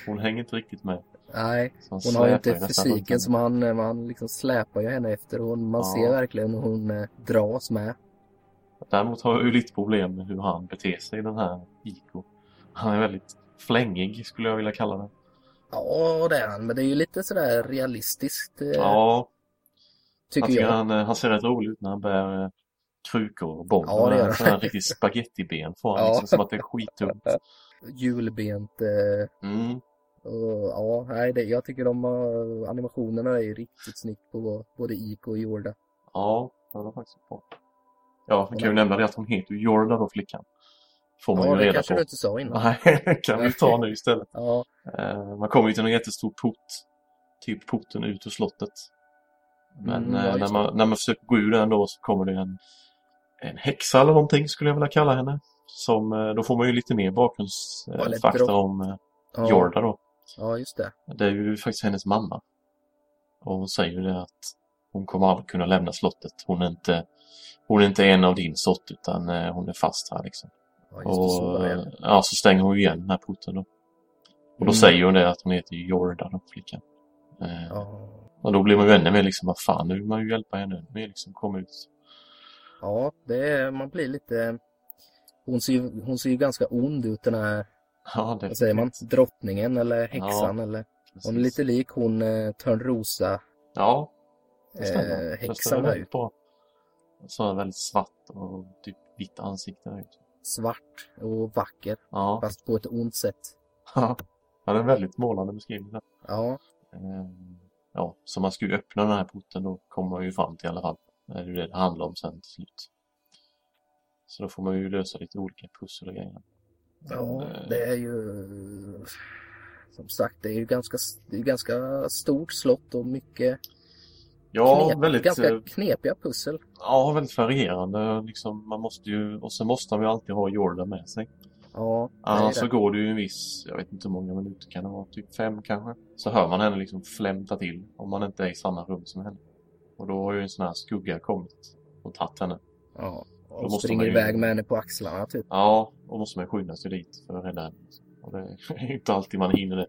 [SPEAKER 2] Hon hänger inte riktigt med.
[SPEAKER 1] Nej,
[SPEAKER 2] Så man
[SPEAKER 1] hon har ju
[SPEAKER 2] släpar
[SPEAKER 1] inte
[SPEAKER 2] nästan runt
[SPEAKER 1] fysiken så
[SPEAKER 2] henne.
[SPEAKER 1] man, man liksom släpar ju henne efter. Hon, man
[SPEAKER 2] Ja.
[SPEAKER 1] ser verkligen hur hon eh, dras med.
[SPEAKER 2] Däremot har jag ju lite problem med hur han beter sig, den här Iko. Han är väldigt flängig, skulle jag vilja kalla det.
[SPEAKER 1] Ja, det är han. Men det är ju lite sådär realistiskt, eh,
[SPEAKER 2] Ja, jag
[SPEAKER 1] tycker
[SPEAKER 2] tycker
[SPEAKER 1] jag.
[SPEAKER 2] han, eh, han ser rätt rolig ut när han bär eh, krukor och bomber.
[SPEAKER 1] Ja, det gör
[SPEAKER 2] han.
[SPEAKER 1] han.
[SPEAKER 2] Sådana här riktigt spagettiben får han,
[SPEAKER 1] Ja.
[SPEAKER 2] liksom, som att det är skittungt.
[SPEAKER 1] Julbent. Eh,
[SPEAKER 2] Mm,
[SPEAKER 1] och, ja, nej, det, jag tycker de har- animationerna är ju riktigt snyggt på både Iko och Jorda.
[SPEAKER 2] ja, den var faktiskt bra. Ja, man kan ju nämna det att hon heter ju Jorda då, flickan. Får man
[SPEAKER 1] Ja,
[SPEAKER 2] ju
[SPEAKER 1] det
[SPEAKER 2] reda
[SPEAKER 1] kanske
[SPEAKER 2] på.
[SPEAKER 1] du inte sa innan.
[SPEAKER 2] Nej, det kan vi ta nu istället.
[SPEAKER 1] Ja,
[SPEAKER 2] Eh, man kommer ju till en jättestor port. Typ porten ut ur slottet. Men
[SPEAKER 1] Mm, ja,
[SPEAKER 2] eh,
[SPEAKER 1] just
[SPEAKER 2] när,
[SPEAKER 1] det.
[SPEAKER 2] man, när man försöker gå ur den då så kommer det en, en häxa eller någonting skulle jag vilja kalla henne. Som, eh, då får man ju lite
[SPEAKER 1] Ja,
[SPEAKER 2] mer
[SPEAKER 1] eller
[SPEAKER 2] bakgrundsfakta
[SPEAKER 1] dropp.
[SPEAKER 2] om eh,
[SPEAKER 1] ja,
[SPEAKER 2] Jorda då.
[SPEAKER 1] ja, just det.
[SPEAKER 2] Det är ju faktiskt hennes mamma. Och hon säger ju det att hon kommer aldrig kunna lämna slottet. Hon är inte, hon är inte en av din sort utan eh, hon är fast här liksom.
[SPEAKER 1] Ja, just det, så
[SPEAKER 2] Och, eh,
[SPEAKER 1] var det.
[SPEAKER 2] ja, så stänger hon ju igen den här porten då. Och då
[SPEAKER 1] Mm.
[SPEAKER 2] säger hon det att hon heter Jordan, och flickan. Eh,
[SPEAKER 1] Ja.
[SPEAKER 2] Och då blir man ju ännu mer liksom, vad fan, nu vill man ju hjälpa henne ännu mer liksom, komma ut.
[SPEAKER 1] ja, det är, man blir lite... Hon ser, ju, hon ser ju ganska ond ut den här,
[SPEAKER 2] Ja, det
[SPEAKER 1] vad säger man, drottningen eller häxan eller...
[SPEAKER 2] precis.
[SPEAKER 1] Hon är lite lik hon eh, Törnrosa.
[SPEAKER 2] Ja, det stämmer.
[SPEAKER 1] Eh,
[SPEAKER 2] Det
[SPEAKER 1] häxan
[SPEAKER 2] stämmer
[SPEAKER 1] var ju
[SPEAKER 2] väldigt bra. Så är väldigt svart och typ vitt ansikte. där ute.
[SPEAKER 1] svart och vacker,
[SPEAKER 2] Ja,
[SPEAKER 1] fast på ett ont sätt.
[SPEAKER 2] ja det är en väldigt målande beskrivning. där.
[SPEAKER 1] Ja,
[SPEAKER 2] Eh, ja, så man ska ju öppna den här porten, då kommer man ju fram till i alla fall. Det är ju det det handlar om sen till slut. Så då får man ju lösa lite olika pussel och grejer. eh,
[SPEAKER 1] Ja, det är ju... Som sagt, det är ju ganska, det är ganska stort slott och mycket
[SPEAKER 2] Ja,
[SPEAKER 1] knep,
[SPEAKER 2] väldigt, eh,
[SPEAKER 1] ganska knepiga pussel.
[SPEAKER 2] ja, väldigt varierande. Liksom, man måste ju, och sen måste man ju alltid ha Jordan med sig.
[SPEAKER 1] Ja, det är
[SPEAKER 2] Annars
[SPEAKER 1] det.
[SPEAKER 2] så går det ju en viss, jag vet inte hur många minuter kan det vara, typ fem kanske. Så hör man henne liksom flämta till om man inte är i samma rum som henne. Och då har ju en sån här skugga kommit och tagit henne.
[SPEAKER 1] Ja,
[SPEAKER 2] Då
[SPEAKER 1] och
[SPEAKER 2] måste
[SPEAKER 1] springer
[SPEAKER 2] man ju-
[SPEAKER 1] iväg med henne på axlarna typ.
[SPEAKER 2] Ja, då måste man ju skynda sig dit för att rädda henne. Och det är ju inte alltid man hinner det.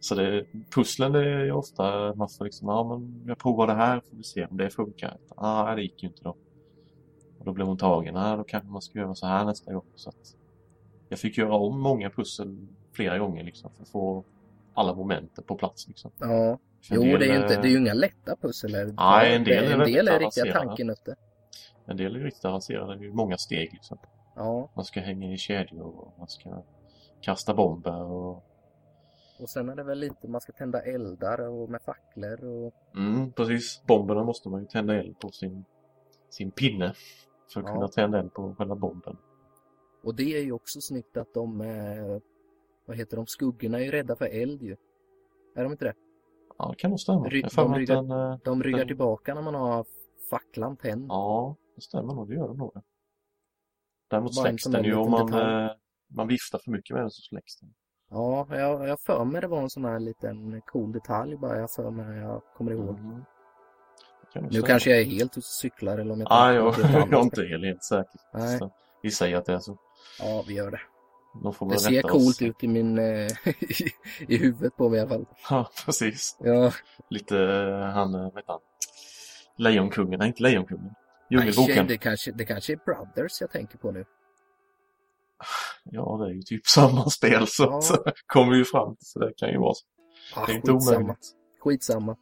[SPEAKER 2] Så det, pusslen det är ju ofta, man får liksom, ja men jag provar det här, får vi se om det funkar. Ah, det gick ju inte då. Och då blev hon tagen, ah, då kanske man ska göra så här nästa gång. Så att jag fick göra om många pussel flera gånger liksom för att få alla momenten på plats liksom.
[SPEAKER 1] Ja,
[SPEAKER 2] För
[SPEAKER 1] jo
[SPEAKER 2] en
[SPEAKER 1] det är ju
[SPEAKER 2] del,
[SPEAKER 1] inte, det är
[SPEAKER 2] eh,
[SPEAKER 1] ju inga lätta pussel. Eller,
[SPEAKER 2] Nej, en del
[SPEAKER 1] det,
[SPEAKER 2] är
[SPEAKER 1] en
[SPEAKER 2] väldigt
[SPEAKER 1] del är riktiga
[SPEAKER 2] avancerade.
[SPEAKER 1] tankenötter.
[SPEAKER 2] En del är riktigt avancerade, det är ju många steg liksom.
[SPEAKER 1] Ja,
[SPEAKER 2] Man ska hänga i kedjor och man ska kasta bomber och
[SPEAKER 1] och sen är det väl lite, man ska tända eldar och med facklor och...
[SPEAKER 2] Mm, precis. Bomberna måste man ju tända eld på sin, sin pinne. För att
[SPEAKER 1] Ja.
[SPEAKER 2] kunna tända eld på själva bomben.
[SPEAKER 1] Och det är ju också snyggt att de, eh, vad heter de, skuggorna är ju rädda för eld ju. Är de inte det?
[SPEAKER 2] Ja, det kan nog stämma.
[SPEAKER 1] Rygg-
[SPEAKER 2] Jag har för
[SPEAKER 1] de
[SPEAKER 2] mig att
[SPEAKER 1] ryggar-
[SPEAKER 2] den, eh,
[SPEAKER 1] De ryggar
[SPEAKER 2] Den-
[SPEAKER 1] tillbaka när man har facklan tänd.
[SPEAKER 2] Ja, det stämmer nog. Det gör den nog. Däremot
[SPEAKER 1] Bara en
[SPEAKER 2] släcks
[SPEAKER 1] sån
[SPEAKER 2] den
[SPEAKER 1] där
[SPEAKER 2] ju om
[SPEAKER 1] liten
[SPEAKER 2] man,
[SPEAKER 1] detalj.
[SPEAKER 2] eh, man viftar för mycket med den så släcks den.
[SPEAKER 1] Ja, jag, jag för mig det var en sån här liten cool detalj bara jag för mig när jag kommer ihåg.
[SPEAKER 2] Mm. Det kan nog
[SPEAKER 1] Nu
[SPEAKER 2] stämma.
[SPEAKER 1] kanske jag är helt ute och cyklar eller om jag
[SPEAKER 2] Ah, jag,
[SPEAKER 1] något helt
[SPEAKER 2] jag
[SPEAKER 1] annat.
[SPEAKER 2] är inte helt säker.
[SPEAKER 1] Nej.
[SPEAKER 2] Så Vi säger att det är så.
[SPEAKER 1] Ja, vi gör det.
[SPEAKER 2] Då får man
[SPEAKER 1] Det ser
[SPEAKER 2] rätta
[SPEAKER 1] coolt
[SPEAKER 2] oss.
[SPEAKER 1] ut i min... eh, i- I huvudet på mig i alla fall.
[SPEAKER 2] Ja, precis.
[SPEAKER 1] Ja,
[SPEAKER 2] Lite eh, han, eh, vad heter han? Lejonkungen. Nej, inte Lejonkungen.
[SPEAKER 1] nej, tjej,
[SPEAKER 2] Djungelboken.
[SPEAKER 1] det, kanske, det kanske är Brothers jag tänker på nu.
[SPEAKER 2] Ja, det är ju typ samma spel så
[SPEAKER 1] Ja.
[SPEAKER 2] att det kommer ju fram till så det kan ju vara så.
[SPEAKER 1] Ah,
[SPEAKER 2] Det är inte
[SPEAKER 1] skitsamma.
[SPEAKER 2] omöjligt.
[SPEAKER 1] Skitsamma.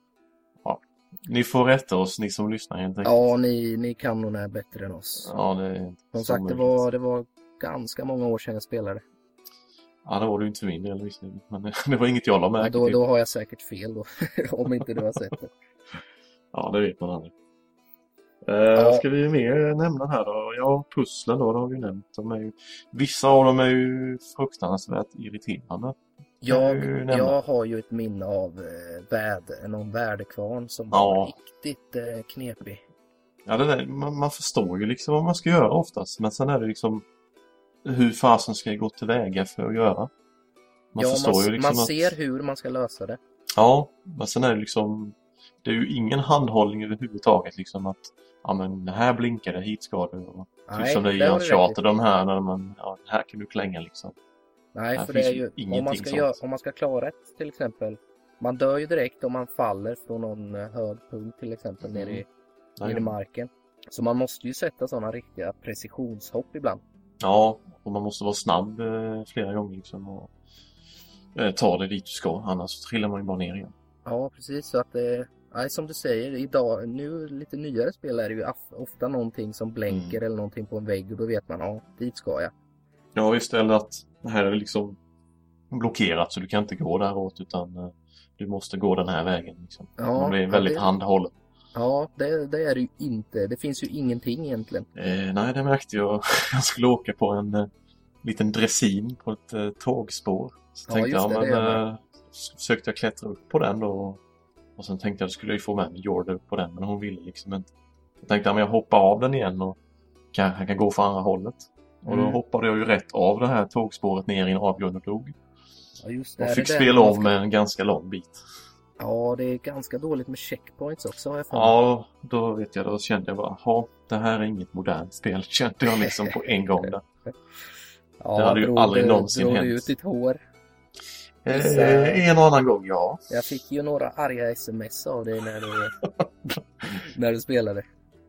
[SPEAKER 2] Ni får rätta oss, ni som lyssnar helt enkelt.
[SPEAKER 1] Ja, ni, ni kan nog det här bättre än oss.
[SPEAKER 2] Ja, det är inte
[SPEAKER 1] Som
[SPEAKER 2] så
[SPEAKER 1] sagt, det
[SPEAKER 2] omöjligt.
[SPEAKER 1] var, det var ganska många år sedan jag spelade.
[SPEAKER 2] Ja, det var det ju inte för min del visserligen. Men det var inget jag la
[SPEAKER 1] Ja,
[SPEAKER 2] märke
[SPEAKER 1] då,
[SPEAKER 2] till.
[SPEAKER 1] då har jag säkert fel då. Om inte du har sett det.
[SPEAKER 2] Ja, det vet man aldrig. Eh,
[SPEAKER 1] Ja.
[SPEAKER 2] Vad ska vi mer nämna här då? Ja, pusslen då, det har vi ju nämnt. De är ju... Vissa av dem är ju fruktansvärt irriterande.
[SPEAKER 1] Jag,
[SPEAKER 2] Kan du nämna?
[SPEAKER 1] jag har ju ett minne av eh, väder, någon väderkvarn som var
[SPEAKER 2] Ja.
[SPEAKER 1] riktigt eh, knepig.
[SPEAKER 2] Ja, det där, man, man förstår ju liksom vad man ska göra oftast. Men sen är det liksom hur fasen ska jag gå tillväga för att göra? Man
[SPEAKER 1] ja,
[SPEAKER 2] förstår
[SPEAKER 1] man,
[SPEAKER 2] ju liksom
[SPEAKER 1] man
[SPEAKER 2] att... typ
[SPEAKER 1] ser hur man ska lösa det.
[SPEAKER 2] Ja, men sen är det liksom... Det är ju ingen handhållning överhuvudtaget liksom att ja men här blinkar det, hit ska du. Och, typ som det är
[SPEAKER 1] där
[SPEAKER 2] i
[SPEAKER 1] har du rätt i.
[SPEAKER 2] Uncharted, de här när man, ja här kan du klänga liksom.
[SPEAKER 1] Nej,
[SPEAKER 2] Här
[SPEAKER 1] för det är
[SPEAKER 2] finns ju
[SPEAKER 1] ju, om man,
[SPEAKER 2] ingenting
[SPEAKER 1] ska
[SPEAKER 2] sånt.
[SPEAKER 1] göra, om man ska klara ett till exempel. Man dör ju direkt om man faller från någon eh, hög punkt till exempel
[SPEAKER 2] Mm.
[SPEAKER 1] ner i,
[SPEAKER 2] Ja,
[SPEAKER 1] ner i marken. Så man måste ju sätta sådana riktiga precisionshopp ibland.
[SPEAKER 2] ja, och man måste vara snabb eh, flera gånger liksom och eh, ta det dit du ska, annars trillar man ju bara ner igen.
[SPEAKER 1] Ja, precis. Så att eh, nej, som du säger, idag, nu lite nyare spel är det ju af- ofta någonting som blänker
[SPEAKER 2] Mm.
[SPEAKER 1] eller någonting på en vägg och då vet man, ja, dit ska jag.
[SPEAKER 2] Ja, just det, eller att det här är liksom blockerat så du kan inte gå däråt utan eh, du måste gå den här vägen. Liksom.
[SPEAKER 1] Ja,
[SPEAKER 2] man blir
[SPEAKER 1] ja,
[SPEAKER 2] väldigt
[SPEAKER 1] det-
[SPEAKER 2] handhållen.
[SPEAKER 1] Ja, det, det är det ju inte. Det finns ju ingenting egentligen.
[SPEAKER 2] Eh, nej, det märkte jag. Jag skulle åka på en eh, liten dressin på ett eh, tågspår. Så
[SPEAKER 1] Ja,
[SPEAKER 2] tänkte
[SPEAKER 1] just
[SPEAKER 2] jag,
[SPEAKER 1] det,
[SPEAKER 2] ja,
[SPEAKER 1] det
[SPEAKER 2] men,
[SPEAKER 1] gör man.
[SPEAKER 2] eh, s- försökte jag klättra upp på den då. och- Och sen tänkte jag att skulle jag ju få med mig Jordan upp på den, men hon ville liksom inte. Jag tänkte att jag hoppar av den igen och kanske jag kan gå för andra hållet. Och då
[SPEAKER 1] Mm.
[SPEAKER 2] hoppade jag ju rätt av det här tågspåret ner i en avgrund och dog.
[SPEAKER 1] Ja, just det.
[SPEAKER 2] Och
[SPEAKER 1] Är
[SPEAKER 2] fick
[SPEAKER 1] det
[SPEAKER 2] spela
[SPEAKER 1] där man
[SPEAKER 2] om
[SPEAKER 1] ska-
[SPEAKER 2] en ganska lång bit.
[SPEAKER 1] Ja, det är ganska dåligt med checkpoints också har jag för mig.
[SPEAKER 2] Ja, då vet jag. Då kände jag bara, ha, det här är inget modernt spel. Kände jag liksom på en gång där.
[SPEAKER 1] Ja,
[SPEAKER 2] Det hade ju
[SPEAKER 1] drog
[SPEAKER 2] aldrig
[SPEAKER 1] du-
[SPEAKER 2] någonsin
[SPEAKER 1] drog
[SPEAKER 2] hänt.
[SPEAKER 1] du ut ditt hår. Vissa-
[SPEAKER 2] Eh, en och annan gång, ja.
[SPEAKER 1] Jag fick ju några arga sms av dig när du, när du spelade.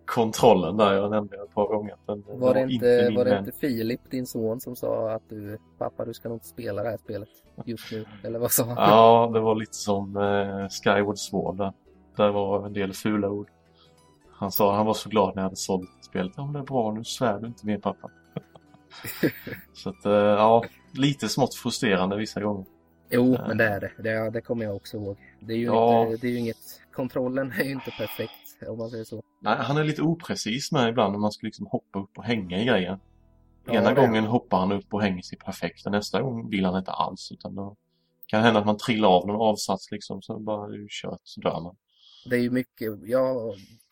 [SPEAKER 2] Kontrollen där, jag nämnde ett par gånger. att Den
[SPEAKER 1] Var det inte,
[SPEAKER 2] min
[SPEAKER 1] var det
[SPEAKER 2] vän.
[SPEAKER 1] inte Filip, din son, som sa att du, pappa du ska nog inte spela det här spelet just nu? Eller vad sa han?
[SPEAKER 2] Ja, det var lite som eh, Skyward Sword där. Där var en del fula ord. Han sa han var så glad när jag hade sålt spelet. Ja, men det är bra, nu svär du inte mer pappa. så att, eh, ja, lite smått frustrerande vissa gånger.
[SPEAKER 1] Jo, men det är det. det. Det kommer jag också ihåg. Det är ju,
[SPEAKER 2] Ja.
[SPEAKER 1] inte, det är ju inget... Kontrollen är ju inte perfekt, om man säger så.
[SPEAKER 2] Nej, han är lite oprecis med ibland om man ska liksom hoppa upp och hänga i grejen.
[SPEAKER 1] Ja,
[SPEAKER 2] Ena
[SPEAKER 1] det-
[SPEAKER 2] gången hoppar han upp och hänger sig perfekt och nästa gång vill han inte alls. Utan då kan det hända att man trillar av någon avsats liksom så bara det är ju kört så dör man.
[SPEAKER 1] Det är ju mycket... Ja,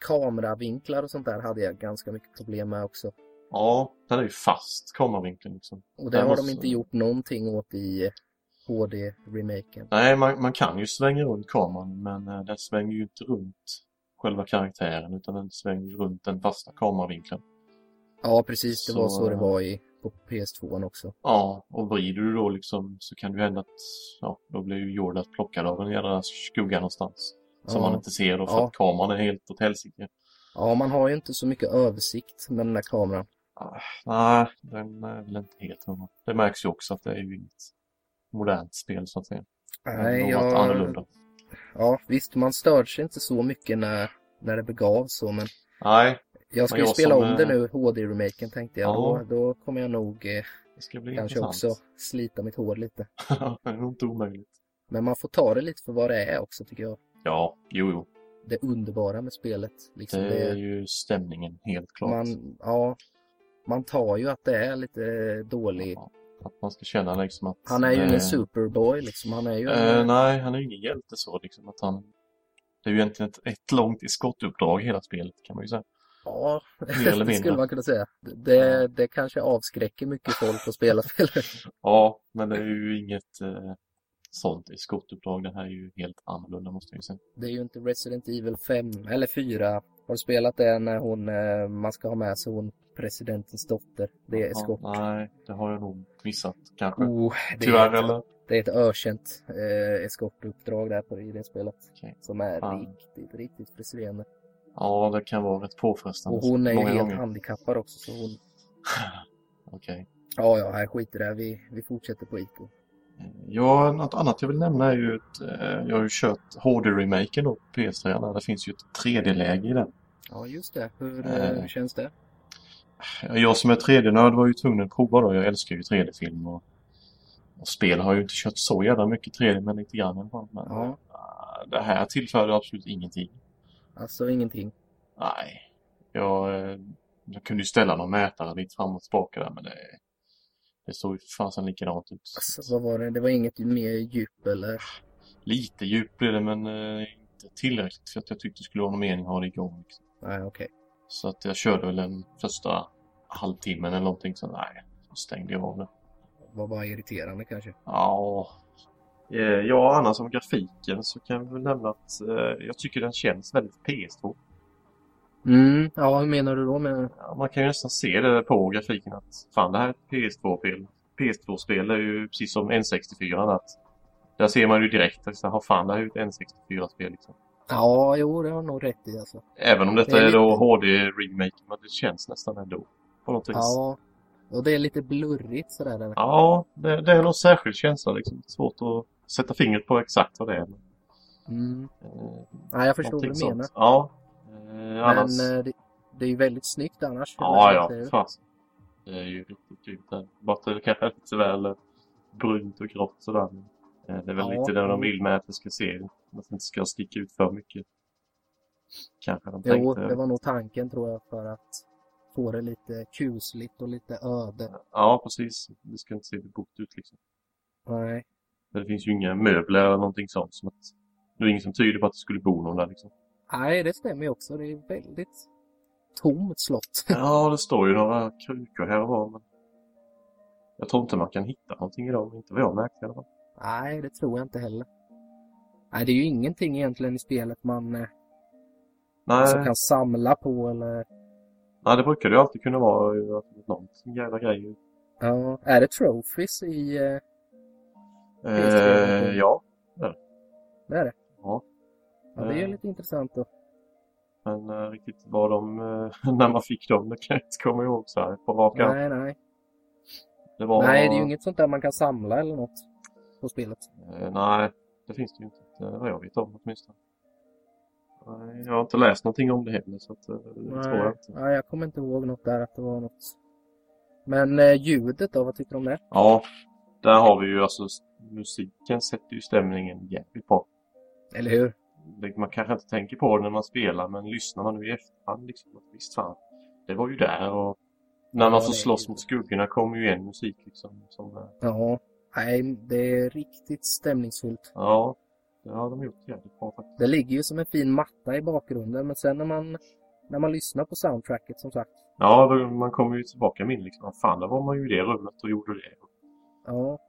[SPEAKER 1] kameravinklar och sånt där hade jag ganska mycket problem med också.
[SPEAKER 2] Ja, den är ju fast kameravinkeln liksom.
[SPEAKER 1] Och det
[SPEAKER 2] Jag
[SPEAKER 1] har de
[SPEAKER 2] måste-
[SPEAKER 1] inte gjort någonting åt i eh, HD-remaken.
[SPEAKER 2] Nej, man, man kan ju svänga runt kameran men eh, den svänger ju inte runt själva karaktären utan den svänger ju runt den fasta kameravinkeln.
[SPEAKER 1] Ja, precis. Det var
[SPEAKER 2] Så-
[SPEAKER 1] så det var i, på PS2 också.
[SPEAKER 2] Ja, och vrider du då liksom så kan det ju hända att ja, då blir ju Jordat plockad av en jävla skugga någonstans. Som
[SPEAKER 1] ja.
[SPEAKER 2] man inte ser då för
[SPEAKER 1] Ja.
[SPEAKER 2] att kameran är helt åt helsike.
[SPEAKER 1] ja, man har ju inte så mycket översikt med den där kameran.
[SPEAKER 2] Nej, den är väl inte helt hundra. Det märks ju också att det är ju inget modernt spel så att säga.
[SPEAKER 1] Nej,
[SPEAKER 2] något
[SPEAKER 1] jag-
[SPEAKER 2] annorlunda.
[SPEAKER 1] Ja, visst, man störde sig inte så mycket när, när det begav så, men
[SPEAKER 2] Nej,
[SPEAKER 1] jag ska
[SPEAKER 2] Men
[SPEAKER 1] ju
[SPEAKER 2] jag
[SPEAKER 1] spela
[SPEAKER 2] som,
[SPEAKER 1] om det
[SPEAKER 2] eh,
[SPEAKER 1] nu, HD-remaken tänkte jag.
[SPEAKER 2] Ja.
[SPEAKER 1] Då, då kommer jag nog eh,
[SPEAKER 2] det ska bli
[SPEAKER 1] kanske också
[SPEAKER 2] intressant.
[SPEAKER 1] slita mitt hår lite.
[SPEAKER 2] det är nog inte omöjligt.
[SPEAKER 1] Men man får ta det lite för vad det är också, tycker jag.
[SPEAKER 2] Ja, jo, jo.
[SPEAKER 1] Det underbara med spelet. Liksom,
[SPEAKER 2] Det
[SPEAKER 1] det
[SPEAKER 2] är ju stämningen, helt klart.
[SPEAKER 1] man, ja, man tar ju att det är lite eh, dålig.
[SPEAKER 2] Ja, Att man ska känna liksom att...
[SPEAKER 1] Han är ju
[SPEAKER 2] det-
[SPEAKER 1] ingen superboy liksom. Han är ju...
[SPEAKER 2] Eh, nej, han är ju ingen hjälte så liksom att han... Det är ju egentligen ett, ett långt skottuppdrag hela spelet kan man ju säga.
[SPEAKER 1] ja,
[SPEAKER 2] mer
[SPEAKER 1] det
[SPEAKER 2] eller mindre. Eh.
[SPEAKER 1] skulle man kunna säga. Det, det kanske avskräcker mycket folk att spela spelet.
[SPEAKER 2] Ja, men det är ju inget eh, sånt skottuppdrag. Det här är ju helt annorlunda måste jag ju säga.
[SPEAKER 1] Det är ju inte Resident Evil 5 eller 4. Har du spelat det när hon, eh, man ska ha med sig hon, presidentens dotter? Det är skott.
[SPEAKER 2] Ja, nej, det har jag nog missat kanske.
[SPEAKER 1] Oh, det,
[SPEAKER 2] Tyvärr
[SPEAKER 1] är ett,
[SPEAKER 2] eller?
[SPEAKER 1] det är ett ökänt eh, eskortuppdrag där på, i det spelet.
[SPEAKER 2] Okej.
[SPEAKER 1] Som är
[SPEAKER 2] Fan.
[SPEAKER 1] riktigt, riktigt frustrerande.
[SPEAKER 2] Ja, det kan vara rätt påfrestande.
[SPEAKER 1] Och hon är ju
[SPEAKER 2] många
[SPEAKER 1] helt
[SPEAKER 2] gånger.
[SPEAKER 1] handikappad också så hon...
[SPEAKER 2] Okej.
[SPEAKER 1] Ja, ja, här skiter det. här. Vi, vi fortsätter på IK.
[SPEAKER 2] Ja, något annat jag vill nämna är ju att eh, jag har ju kört HD-remaken då på PS3. där. Det finns ju ett 3D-läge i den.
[SPEAKER 1] Ja, just det. Hur
[SPEAKER 2] Eh.
[SPEAKER 1] eh, känns det?
[SPEAKER 2] Jag som är 3D-nörd var ju tvungen att prova då. Jag älskar ju 3D-film och, och spel har ju inte kört så jävla mycket 3D, men lite grann i alla fall. Men,
[SPEAKER 1] Ja,
[SPEAKER 2] eh, Det här tillförde absolut ingenting.
[SPEAKER 1] alltså ingenting.
[SPEAKER 2] Nej. Jag, eh, jag kunde ju ställa någon mätare lite fram och tillbaka där men det, det såg ju för fasen likadant ut.
[SPEAKER 1] Alltså, vad var det? Det var inget mer djup eller?
[SPEAKER 2] Lite djup blev det men eh, inte tillräckligt för att jag tyckte det skulle vara någon mening att ha det igång. Liksom.
[SPEAKER 1] Nej, okej.
[SPEAKER 2] Så att jag körde väl den första halvtimmen eller någonting så nej, så stängde jag av det.
[SPEAKER 1] Var bara irriterande kanske.
[SPEAKER 2] Ja, eh, ja annars om grafiken så kan jag väl nämna att eh, jag tycker den känns väldigt PS2.
[SPEAKER 1] Mm, ja, hur menar du då med
[SPEAKER 2] Ja, man kan ju nästan se det på grafiken att fan det här är ett PS2-spel. PS2-spel är ju precis som N64. Att där ser man ju direkt att så här, fan det här är ju ett N64-spel. Liksom.
[SPEAKER 1] Ja, jo, det har du nog rätt i alltså.
[SPEAKER 2] Även om detta
[SPEAKER 1] Det är
[SPEAKER 2] är, då
[SPEAKER 1] lite-
[SPEAKER 2] HD-remake, men det känns nästan ändå. På något vis. Ja,
[SPEAKER 1] Ja, och det är lite blurrigt sådär. eller?
[SPEAKER 2] det, det är någon särskild känsla liksom. Svårt att sätta fingret på exakt vad det är. Men,
[SPEAKER 1] Mm.
[SPEAKER 2] eh,
[SPEAKER 1] Ja, jag förstår vad
[SPEAKER 2] någonting
[SPEAKER 1] du menar.
[SPEAKER 2] sånt. Ja. Eh, annars...
[SPEAKER 1] Men eh, det, det är ju väldigt snyggt annars.
[SPEAKER 2] Ja,
[SPEAKER 1] Det är
[SPEAKER 2] ja,
[SPEAKER 1] ju-
[SPEAKER 2] fast. Det är ju riktigt grymt där. Bara att det kanske är lite väl eh, brunt och grått sådär. Men, eh, Det är väl
[SPEAKER 1] Ja.
[SPEAKER 2] lite det de vill med att det ska se, att det inte ska sticka ut för mycket. Kanske de
[SPEAKER 1] Jo,
[SPEAKER 2] tänkte.
[SPEAKER 1] det var nog tanken tror jag för att få det lite kusligt och lite öde.
[SPEAKER 2] Ja, precis. Det ska inte se för gott ut liksom.
[SPEAKER 1] Nej.
[SPEAKER 2] Men det finns ju inga möbler eller någonting sånt. Som att, det är ingen som tyder på att det skulle bo någon där liksom.
[SPEAKER 1] Nej, det stämmer ju också. Det är väldigt tomt slott.
[SPEAKER 2] Ja, det står ju några krukor här och var. Men jag tror inte man kan hitta någonting i dem. Inte vad jag märkte i alla fall.
[SPEAKER 1] Nej, det tror jag inte heller. Nej, det är ju ingenting egentligen i spelet man eh,
[SPEAKER 2] Nej.
[SPEAKER 1] som kan samla på eller...
[SPEAKER 2] Nej, det brukar det ju alltid kunna vara ju att någonting jävla grej.
[SPEAKER 1] Ja, är det trophies i... eh,
[SPEAKER 2] Eh,
[SPEAKER 1] trevligt.
[SPEAKER 2] ja,
[SPEAKER 1] Det är det.
[SPEAKER 2] Ja.
[SPEAKER 1] Ja, det är ju
[SPEAKER 2] Eh.
[SPEAKER 1] lite intressant då.
[SPEAKER 2] men eh, riktigt vad de, eh, när man fick dem, det kan jag inte komma ihåg så här på rak arm.
[SPEAKER 1] Nej, nej.
[SPEAKER 2] Det var,
[SPEAKER 1] Nej, det är ju inget sånt där man kan samla eller något på spelet.
[SPEAKER 2] Eh, nej, det finns det ju inte, eh, vad jag vet om åtminstone. Nej, jag har inte läst någonting om det heller, så att, eh, det tror jag inte.
[SPEAKER 1] nej, jag kommer inte ihåg något där att det var något. Men eh, ljudet då, vad tycker du om det?
[SPEAKER 2] Ja, där har vi ju alltså s- musiken sätter ju stämningen jävligt bra.
[SPEAKER 1] Eller hur?
[SPEAKER 2] Det- Man kanske inte tänker på det när man spelar, men lyssnar man nu i efterhand liksom, att visst fan, det var ju där och när man
[SPEAKER 1] Ja,
[SPEAKER 2] får
[SPEAKER 1] det är
[SPEAKER 2] slåss
[SPEAKER 1] ju-
[SPEAKER 2] mot skuggorna kommer ju en musik liksom. Som, eh,
[SPEAKER 1] Ja. Nej, det är riktigt stämningsfullt.
[SPEAKER 2] ja, det har de gjort jävligt bra faktiskt.
[SPEAKER 1] Det ligger ju som en fin matta i bakgrunden, men sen när man, när man lyssnar på soundtracket som sagt.
[SPEAKER 2] Ja, då- man kommer ju tillbaka med liksom, "Ah, fan, där var man ju i det rummet och gjorde det. Och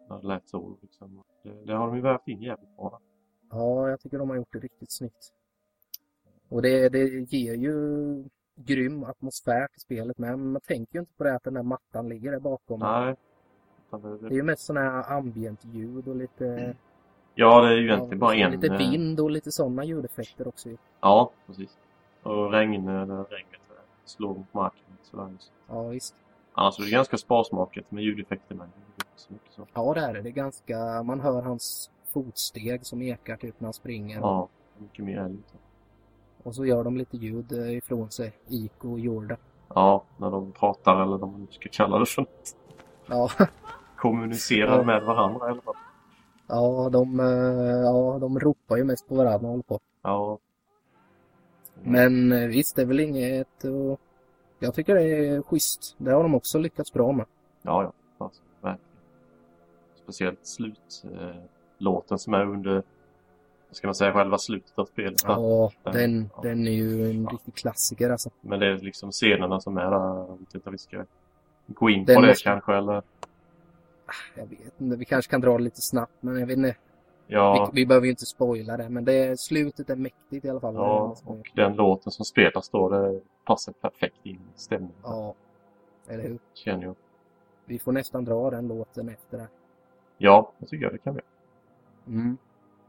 [SPEAKER 1] Ja,
[SPEAKER 2] det lät så liksom. Det, det har de ju vävt in jävligt bra.
[SPEAKER 1] Ja, jag tycker de har gjort det riktigt snyggt. Och det, det ger ju grym atmosfär till spelet med. Men man tänker ju inte på det att den där mattan ligger där bakom.
[SPEAKER 2] Nej. Utan det-
[SPEAKER 1] Det är ju mest sådana här ambient ljud och lite,
[SPEAKER 2] Ja, det är ju
[SPEAKER 1] ja,
[SPEAKER 2] egentligen bara en...
[SPEAKER 1] lite
[SPEAKER 2] eh,
[SPEAKER 1] vind och lite sådana ljudeffekter också. ju.
[SPEAKER 2] Ja, precis. Och regn när regnet eh, slår mot marken. och Sådär.
[SPEAKER 1] Ja, visst.
[SPEAKER 2] Annars är det ganska sparsmakat med ljudeffekter med. Det är inte så mycket så.
[SPEAKER 1] Ja, det är det. Det är ganska... Man hör hans fotsteg som ekar typ när han springer.
[SPEAKER 2] Ja, mycket mer älg.
[SPEAKER 1] Och så gör de lite ljud eh, ifrån sig. Iko och Jorda.
[SPEAKER 2] Ja, när de pratar eller vad man nu ska kalla det för.
[SPEAKER 1] Ja,
[SPEAKER 2] Kommunicerar
[SPEAKER 1] Ja.
[SPEAKER 2] med varandra i alla fall.
[SPEAKER 1] ja, de, eh, ja, de ropar ju mest på varandra och håller på.
[SPEAKER 2] Ja.
[SPEAKER 1] Men eh, visst, det är väl inget... Och jag tycker det är schysst. Det har de också lyckats bra med.
[SPEAKER 2] Ja, ja. Alltså, verkligen. Speciellt slutlåten eh, låten som är under, vad ska man säga, själva slutet av spelet. va?
[SPEAKER 1] Ja,
[SPEAKER 2] den-
[SPEAKER 1] den,
[SPEAKER 2] ja.
[SPEAKER 1] den är ju en
[SPEAKER 2] Ja.
[SPEAKER 1] riktig klassiker alltså.
[SPEAKER 2] Men det är liksom scenerna som är där. Jag vet inte om vi ska gå in
[SPEAKER 1] Den
[SPEAKER 2] på det
[SPEAKER 1] måste-
[SPEAKER 2] kanske eller?
[SPEAKER 1] Jag vet inte, vi kanske kan dra det lite snabbt, men jag vet inte.
[SPEAKER 2] Ja,
[SPEAKER 1] Vi, vi behöver ju inte spoila det, men det, slutet är mäktigt i alla fall.
[SPEAKER 2] ja, och den låten som spelas då, det passar perfekt in i stämningen.
[SPEAKER 1] ja. Eller hur?
[SPEAKER 2] Känner jag.
[SPEAKER 1] Vi får nästan dra den låten efter det.
[SPEAKER 2] Ja, jag tycker jag det kan vi.
[SPEAKER 1] Mm.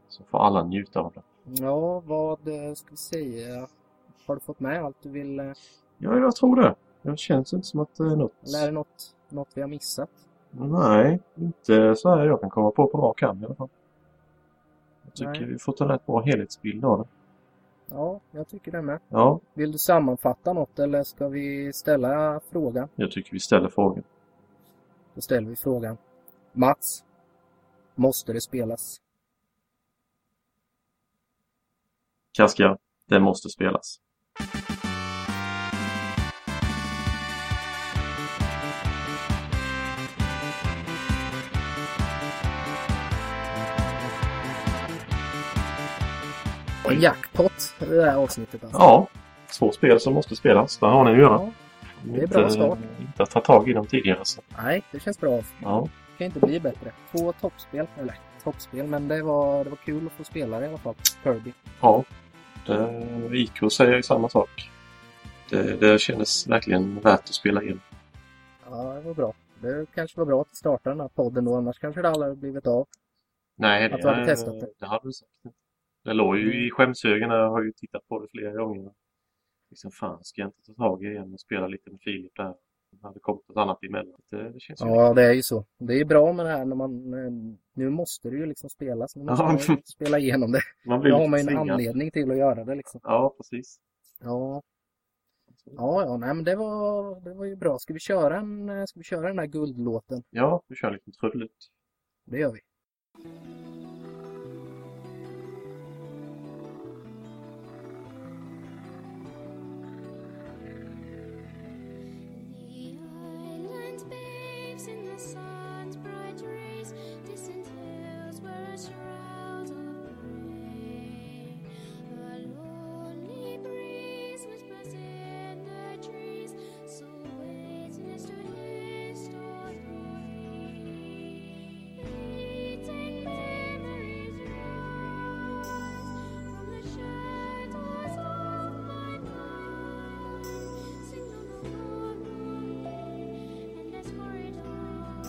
[SPEAKER 2] Så får alla njuta av det.
[SPEAKER 1] Ja, vad eh, ska vi säga? Har du fått med allt du vill? eh,
[SPEAKER 2] Ja, jag tror det. Det känns inte som att det är något...
[SPEAKER 1] Eller är det något, något vi har missat?
[SPEAKER 2] Nej, inte så här jag kan komma på på rak arm i alla fall. Jag tycker
[SPEAKER 1] Nej.
[SPEAKER 2] vi fått en rätt bra helhetsbild av det.
[SPEAKER 1] Ja, jag tycker det med.
[SPEAKER 2] Ja,
[SPEAKER 1] Vill du sammanfatta något eller ska vi ställa frågan?
[SPEAKER 2] jag tycker vi ställer frågan.
[SPEAKER 1] Då ställer vi frågan. Mats, måste det spelas?
[SPEAKER 2] Kaskar, den måste spelas.
[SPEAKER 1] En jackpot i det här avsnittet alltså.
[SPEAKER 2] Ja, två spel som måste spelas. Där har ni att göra.
[SPEAKER 1] Ja, det är bra start.
[SPEAKER 2] Inte att ta tag i dem tidigare. Så.
[SPEAKER 1] Nej, det känns bra.
[SPEAKER 2] Ja,
[SPEAKER 1] Det kan inte bli bättre. Två toppspel, eller toppspel, men det var, det var kul att få spela det i alla fall. Kirby.
[SPEAKER 2] ja. Det, IK säger ju samma sak. Det, det kändes verkligen värt att spela in.
[SPEAKER 1] Ja, det var bra. Det kanske var bra att starta den här podden då, annars kanske det aldrig hade blivit av.
[SPEAKER 2] Nej,
[SPEAKER 1] Att du hade testat det.
[SPEAKER 2] det hade du sagt. Det låg ju i skämshögen. Jag har ju tittat på det flera gånger. Liksom, fan, ska jag inte ta tag i det igen och spela lite med Filip där? Det hade kommit något annat emellan. Det, det känns ju
[SPEAKER 1] Ja, det är ju så. Det är bra med det här när man... eh, Nu måste det ju liksom spelas. Nu måste
[SPEAKER 2] Ja.
[SPEAKER 1] man ju spela igenom det.
[SPEAKER 2] Man blir
[SPEAKER 1] Då har
[SPEAKER 2] lite
[SPEAKER 1] man ju en
[SPEAKER 2] tvingad.
[SPEAKER 1] anledning till att göra det liksom.
[SPEAKER 2] Ja, precis.
[SPEAKER 1] Ja, Ja, ja, nej men det var, det var ju bra. Ska vi köra, en, eh, ska vi köra den här guldlåten?
[SPEAKER 2] Ja, vi kör lite trudelutt.
[SPEAKER 1] Det gör vi.
[SPEAKER 3] The island bathes in the sun's bright rays. Distant hills were a shroud of gray. A lonely breeze whispers in the trees, so waitless to haste or flee. Fleeting memories rise from the shadows of my mind. Sing the and as corridors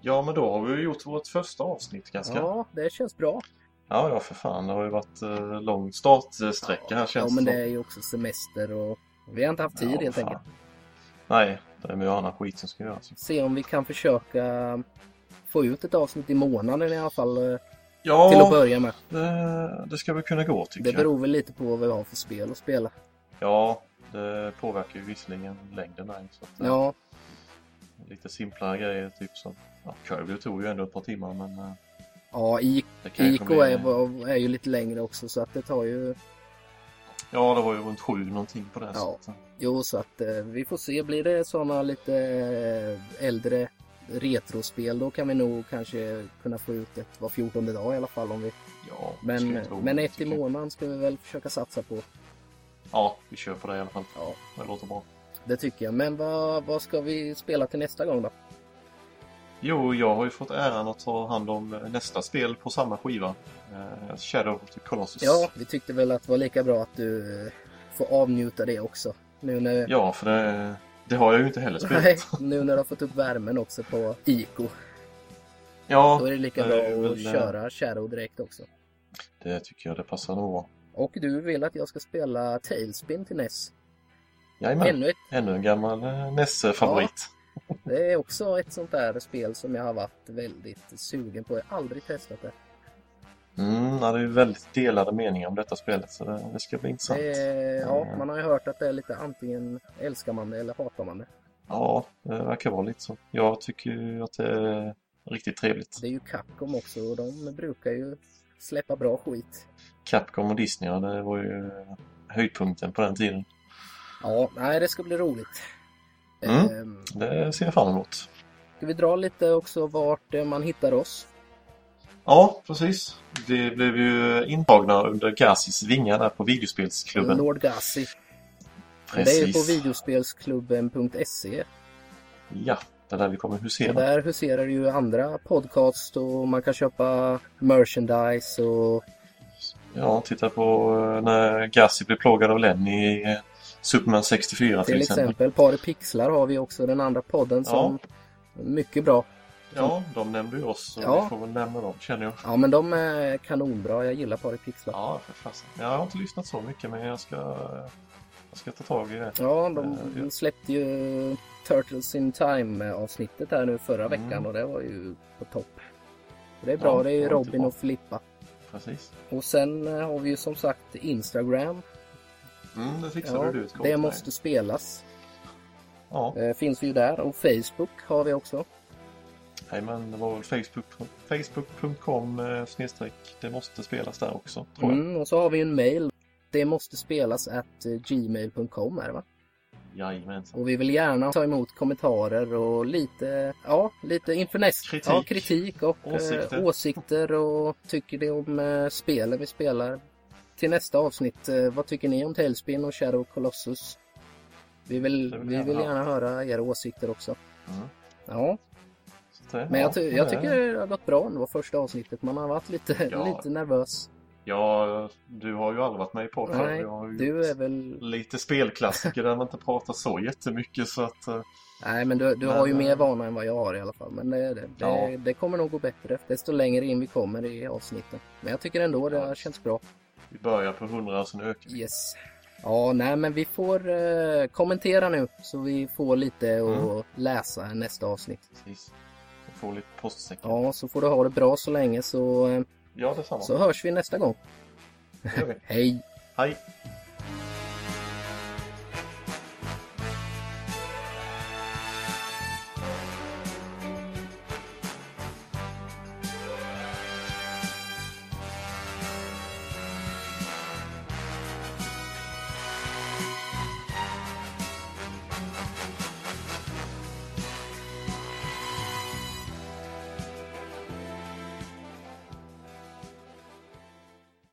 [SPEAKER 2] Ja, men då har vi ju gjort vårt första avsnitt ganska. Ja,
[SPEAKER 1] Ja, det känns bra.
[SPEAKER 2] ja, för fan. Det har ju varit eh, lång startsträcka här känns
[SPEAKER 1] Ja, men
[SPEAKER 2] som.
[SPEAKER 1] det är ju också semester och vi har inte haft tid
[SPEAKER 2] Ja,
[SPEAKER 1] helt
[SPEAKER 2] fan.
[SPEAKER 1] enkelt.
[SPEAKER 2] Nej, det är mycket annan skit som ska göras.
[SPEAKER 1] Se om vi kan försöka få ut ett avsnitt i månaden i alla fall eh,
[SPEAKER 2] Ja,
[SPEAKER 1] till att börja med.
[SPEAKER 2] det, det ska väl kunna gå tycker
[SPEAKER 1] Det beror väl lite på vad vi har för spel att spela.
[SPEAKER 2] jag. Ja, det påverkar ju visserligen längden där. Så att, eh,
[SPEAKER 1] Ja,
[SPEAKER 2] Lite simplare grejer, typ som... Ja, Kirby tog ju ändå ett par timmar, men... eh,
[SPEAKER 1] ja I-
[SPEAKER 2] Det kanske
[SPEAKER 1] IK
[SPEAKER 2] blir-
[SPEAKER 1] är, var- är ju lite längre också så att det tar ju...
[SPEAKER 2] Ja, det var ju runt sju någonting på det. här
[SPEAKER 1] Ja.
[SPEAKER 2] sättet.
[SPEAKER 1] Jo, så att eh, vi får se. Blir det sådana lite eh, äldre retrospel då kan vi nog kanske kunna få ut ett var fjortonde dag i alla fall. Om vi...
[SPEAKER 2] ja det ska
[SPEAKER 1] Men,
[SPEAKER 2] inte vara
[SPEAKER 1] men
[SPEAKER 2] omöjligt,
[SPEAKER 1] ett i
[SPEAKER 2] tycker jag.
[SPEAKER 1] månaden ska vi väl försöka satsa på.
[SPEAKER 2] Ja, vi kör på det i alla fall.
[SPEAKER 1] Ja,
[SPEAKER 2] Det låter bra.
[SPEAKER 1] det tycker jag. Men vad, vad ska vi spela till nästa gång då?
[SPEAKER 2] Jo, jag har ju fått äran att ta hand om eh, nästa spel på samma skiva. Eh, Shadow of the Colossus.
[SPEAKER 1] Ja, vi tyckte väl att det var lika bra att du eh, får avnjuta det också. Nu när...
[SPEAKER 2] Ja, för det, det har jag ju inte heller spelat.
[SPEAKER 1] Nej, nu när du har fått upp värmen också på IK. Då
[SPEAKER 2] Ja,
[SPEAKER 1] är det lika
[SPEAKER 2] det är
[SPEAKER 1] bra att
[SPEAKER 2] väl, eh,
[SPEAKER 1] köra Shadow direkt också.
[SPEAKER 2] det tycker jag det passar nog bra.
[SPEAKER 1] Och du vill att jag ska spela Tailspin till NES.
[SPEAKER 2] Jajamän,
[SPEAKER 1] Ännu ett.
[SPEAKER 2] ännu en gammal eh, Nesse-favorit.
[SPEAKER 1] Det är också ett sånt där spel som jag har varit väldigt sugen på. Jag har aldrig testat det.
[SPEAKER 2] Mm, ja, det är ju väldigt delade meningar om detta spelet, så det, det ska bli intressant.
[SPEAKER 1] det är, ja,
[SPEAKER 2] Mm.
[SPEAKER 1] man har ju hört att det är lite antingen älskar man det eller hatar man det.
[SPEAKER 2] Ja, det verkar vara lite så. Jag tycker ju att det är riktigt trevligt.
[SPEAKER 1] Det är ju Capcom också och de brukar ju släppa bra skit.
[SPEAKER 2] Capcom och Disney, ja, det var ju höjdpunkten på den tiden.
[SPEAKER 1] Ja, nej det ska bli roligt.
[SPEAKER 2] Mm.
[SPEAKER 1] Ehm,
[SPEAKER 2] Det ser jag fram emot.
[SPEAKER 1] Ska vi dra lite också vart eh, man hittar oss?
[SPEAKER 2] Ja, precis. Det blev ju intagna under Gazis vingar där på videospelsklubben.
[SPEAKER 1] Lord Gassi. Det är ju på
[SPEAKER 2] Precis.
[SPEAKER 1] videospelsklubben.se.
[SPEAKER 2] Ja, det är där vi kommer
[SPEAKER 1] Och
[SPEAKER 2] husera.
[SPEAKER 1] där huserar ju andra podcast och man kan köpa merchandise och
[SPEAKER 2] Ja, titta på eh, när Gazi blev plågad av Lenny i eh, Superman 64 till,
[SPEAKER 1] till
[SPEAKER 2] exempel.
[SPEAKER 1] exempel Par i pixlar har vi också den andra podden som mycket bra.
[SPEAKER 2] Ja, de nämnde ju oss så
[SPEAKER 1] Ja.
[SPEAKER 2] vi får väl nämna dem känner jag.
[SPEAKER 1] Ja men de är kanonbra, jag gillar Par i pixlar. Ja,
[SPEAKER 2] Ja, för fasen. Jag har inte lyssnat så mycket men jag ska, eh, jag ska ta tag i det.
[SPEAKER 1] de
[SPEAKER 2] Eh, ja.
[SPEAKER 1] släppte ju Turtles in Time avsnittet här nu förra
[SPEAKER 2] Mm.
[SPEAKER 1] veckan och det var ju på topp. Det är bra,
[SPEAKER 2] Ja,
[SPEAKER 1] det är ju
[SPEAKER 2] det var inte
[SPEAKER 1] Robin
[SPEAKER 2] bra.
[SPEAKER 1] och Filippa.
[SPEAKER 2] Precis.
[SPEAKER 1] Och sen eh, har vi ju som sagt Instagram.
[SPEAKER 2] Mm, det fixade
[SPEAKER 1] Ja,
[SPEAKER 2] du ett
[SPEAKER 1] det måste spelas.
[SPEAKER 2] Ja,
[SPEAKER 1] Eh, finns vi ju där och Facebook har vi också.
[SPEAKER 2] nej, men det var väl Facebook, facebook.com eh, snedstreck. Det måste spelas där också, tror jag.
[SPEAKER 1] Mm, och så har vi en mail. Det måste spelas at eh, gmail.com är det va?
[SPEAKER 2] Jajamensan.
[SPEAKER 1] Och vi vill gärna ta emot kommentarer och lite, ja, lite inför nästa
[SPEAKER 2] Kritik.
[SPEAKER 1] Ja, kritik och eh,
[SPEAKER 2] Åsikter.
[SPEAKER 1] åsikter och tycker det om eh, spelen vi spelar. Till nästa avsnitt, eh, vad tycker ni om Tailspin och Shadow Colossus? Vi vill,
[SPEAKER 2] Det vill
[SPEAKER 1] vi
[SPEAKER 2] jag
[SPEAKER 1] vill
[SPEAKER 2] gärna.
[SPEAKER 1] gärna höra era åsikter också.
[SPEAKER 2] Mm.
[SPEAKER 1] Ja,
[SPEAKER 2] Så det-
[SPEAKER 1] men
[SPEAKER 2] ja,
[SPEAKER 1] jag, ty-
[SPEAKER 2] det
[SPEAKER 1] jag
[SPEAKER 2] är-
[SPEAKER 1] tycker det har gått bra ändå, första avsnittet. Man har varit lite,
[SPEAKER 2] Ja.
[SPEAKER 1] lite nervös.
[SPEAKER 2] Ja, du har ju aldrig varit med i podden.
[SPEAKER 1] Nej,
[SPEAKER 2] jag har ju
[SPEAKER 1] Du eh, är väl
[SPEAKER 2] lite spelklassiker där man inte pratar så jättemycket så att... eh,
[SPEAKER 1] Nej, men du, du
[SPEAKER 2] Men,
[SPEAKER 1] har ju
[SPEAKER 2] eh,
[SPEAKER 1] mer vana än vad jag har i alla fall. Men eh, det, det,
[SPEAKER 2] Ja.
[SPEAKER 1] det, det kommer nog gå bättre desto längre in vi kommer i avsnitten. Men jag tycker ändå det
[SPEAKER 2] Ja.
[SPEAKER 1] har känts bra.
[SPEAKER 2] Vi börjar på 100 och sen ökar vi.
[SPEAKER 1] Yes. Ja, nej, men vi får eh, kommentera nu så vi får lite att läsa i nästa avsnitt.
[SPEAKER 2] Precis. Och får lite postsäck. Ja,
[SPEAKER 1] Ja, så får du ha det bra så länge så, eh,
[SPEAKER 2] ja detsamma.
[SPEAKER 1] så hörs vi nästa gång.
[SPEAKER 2] Det gör vi.
[SPEAKER 1] Hej!
[SPEAKER 2] Hej!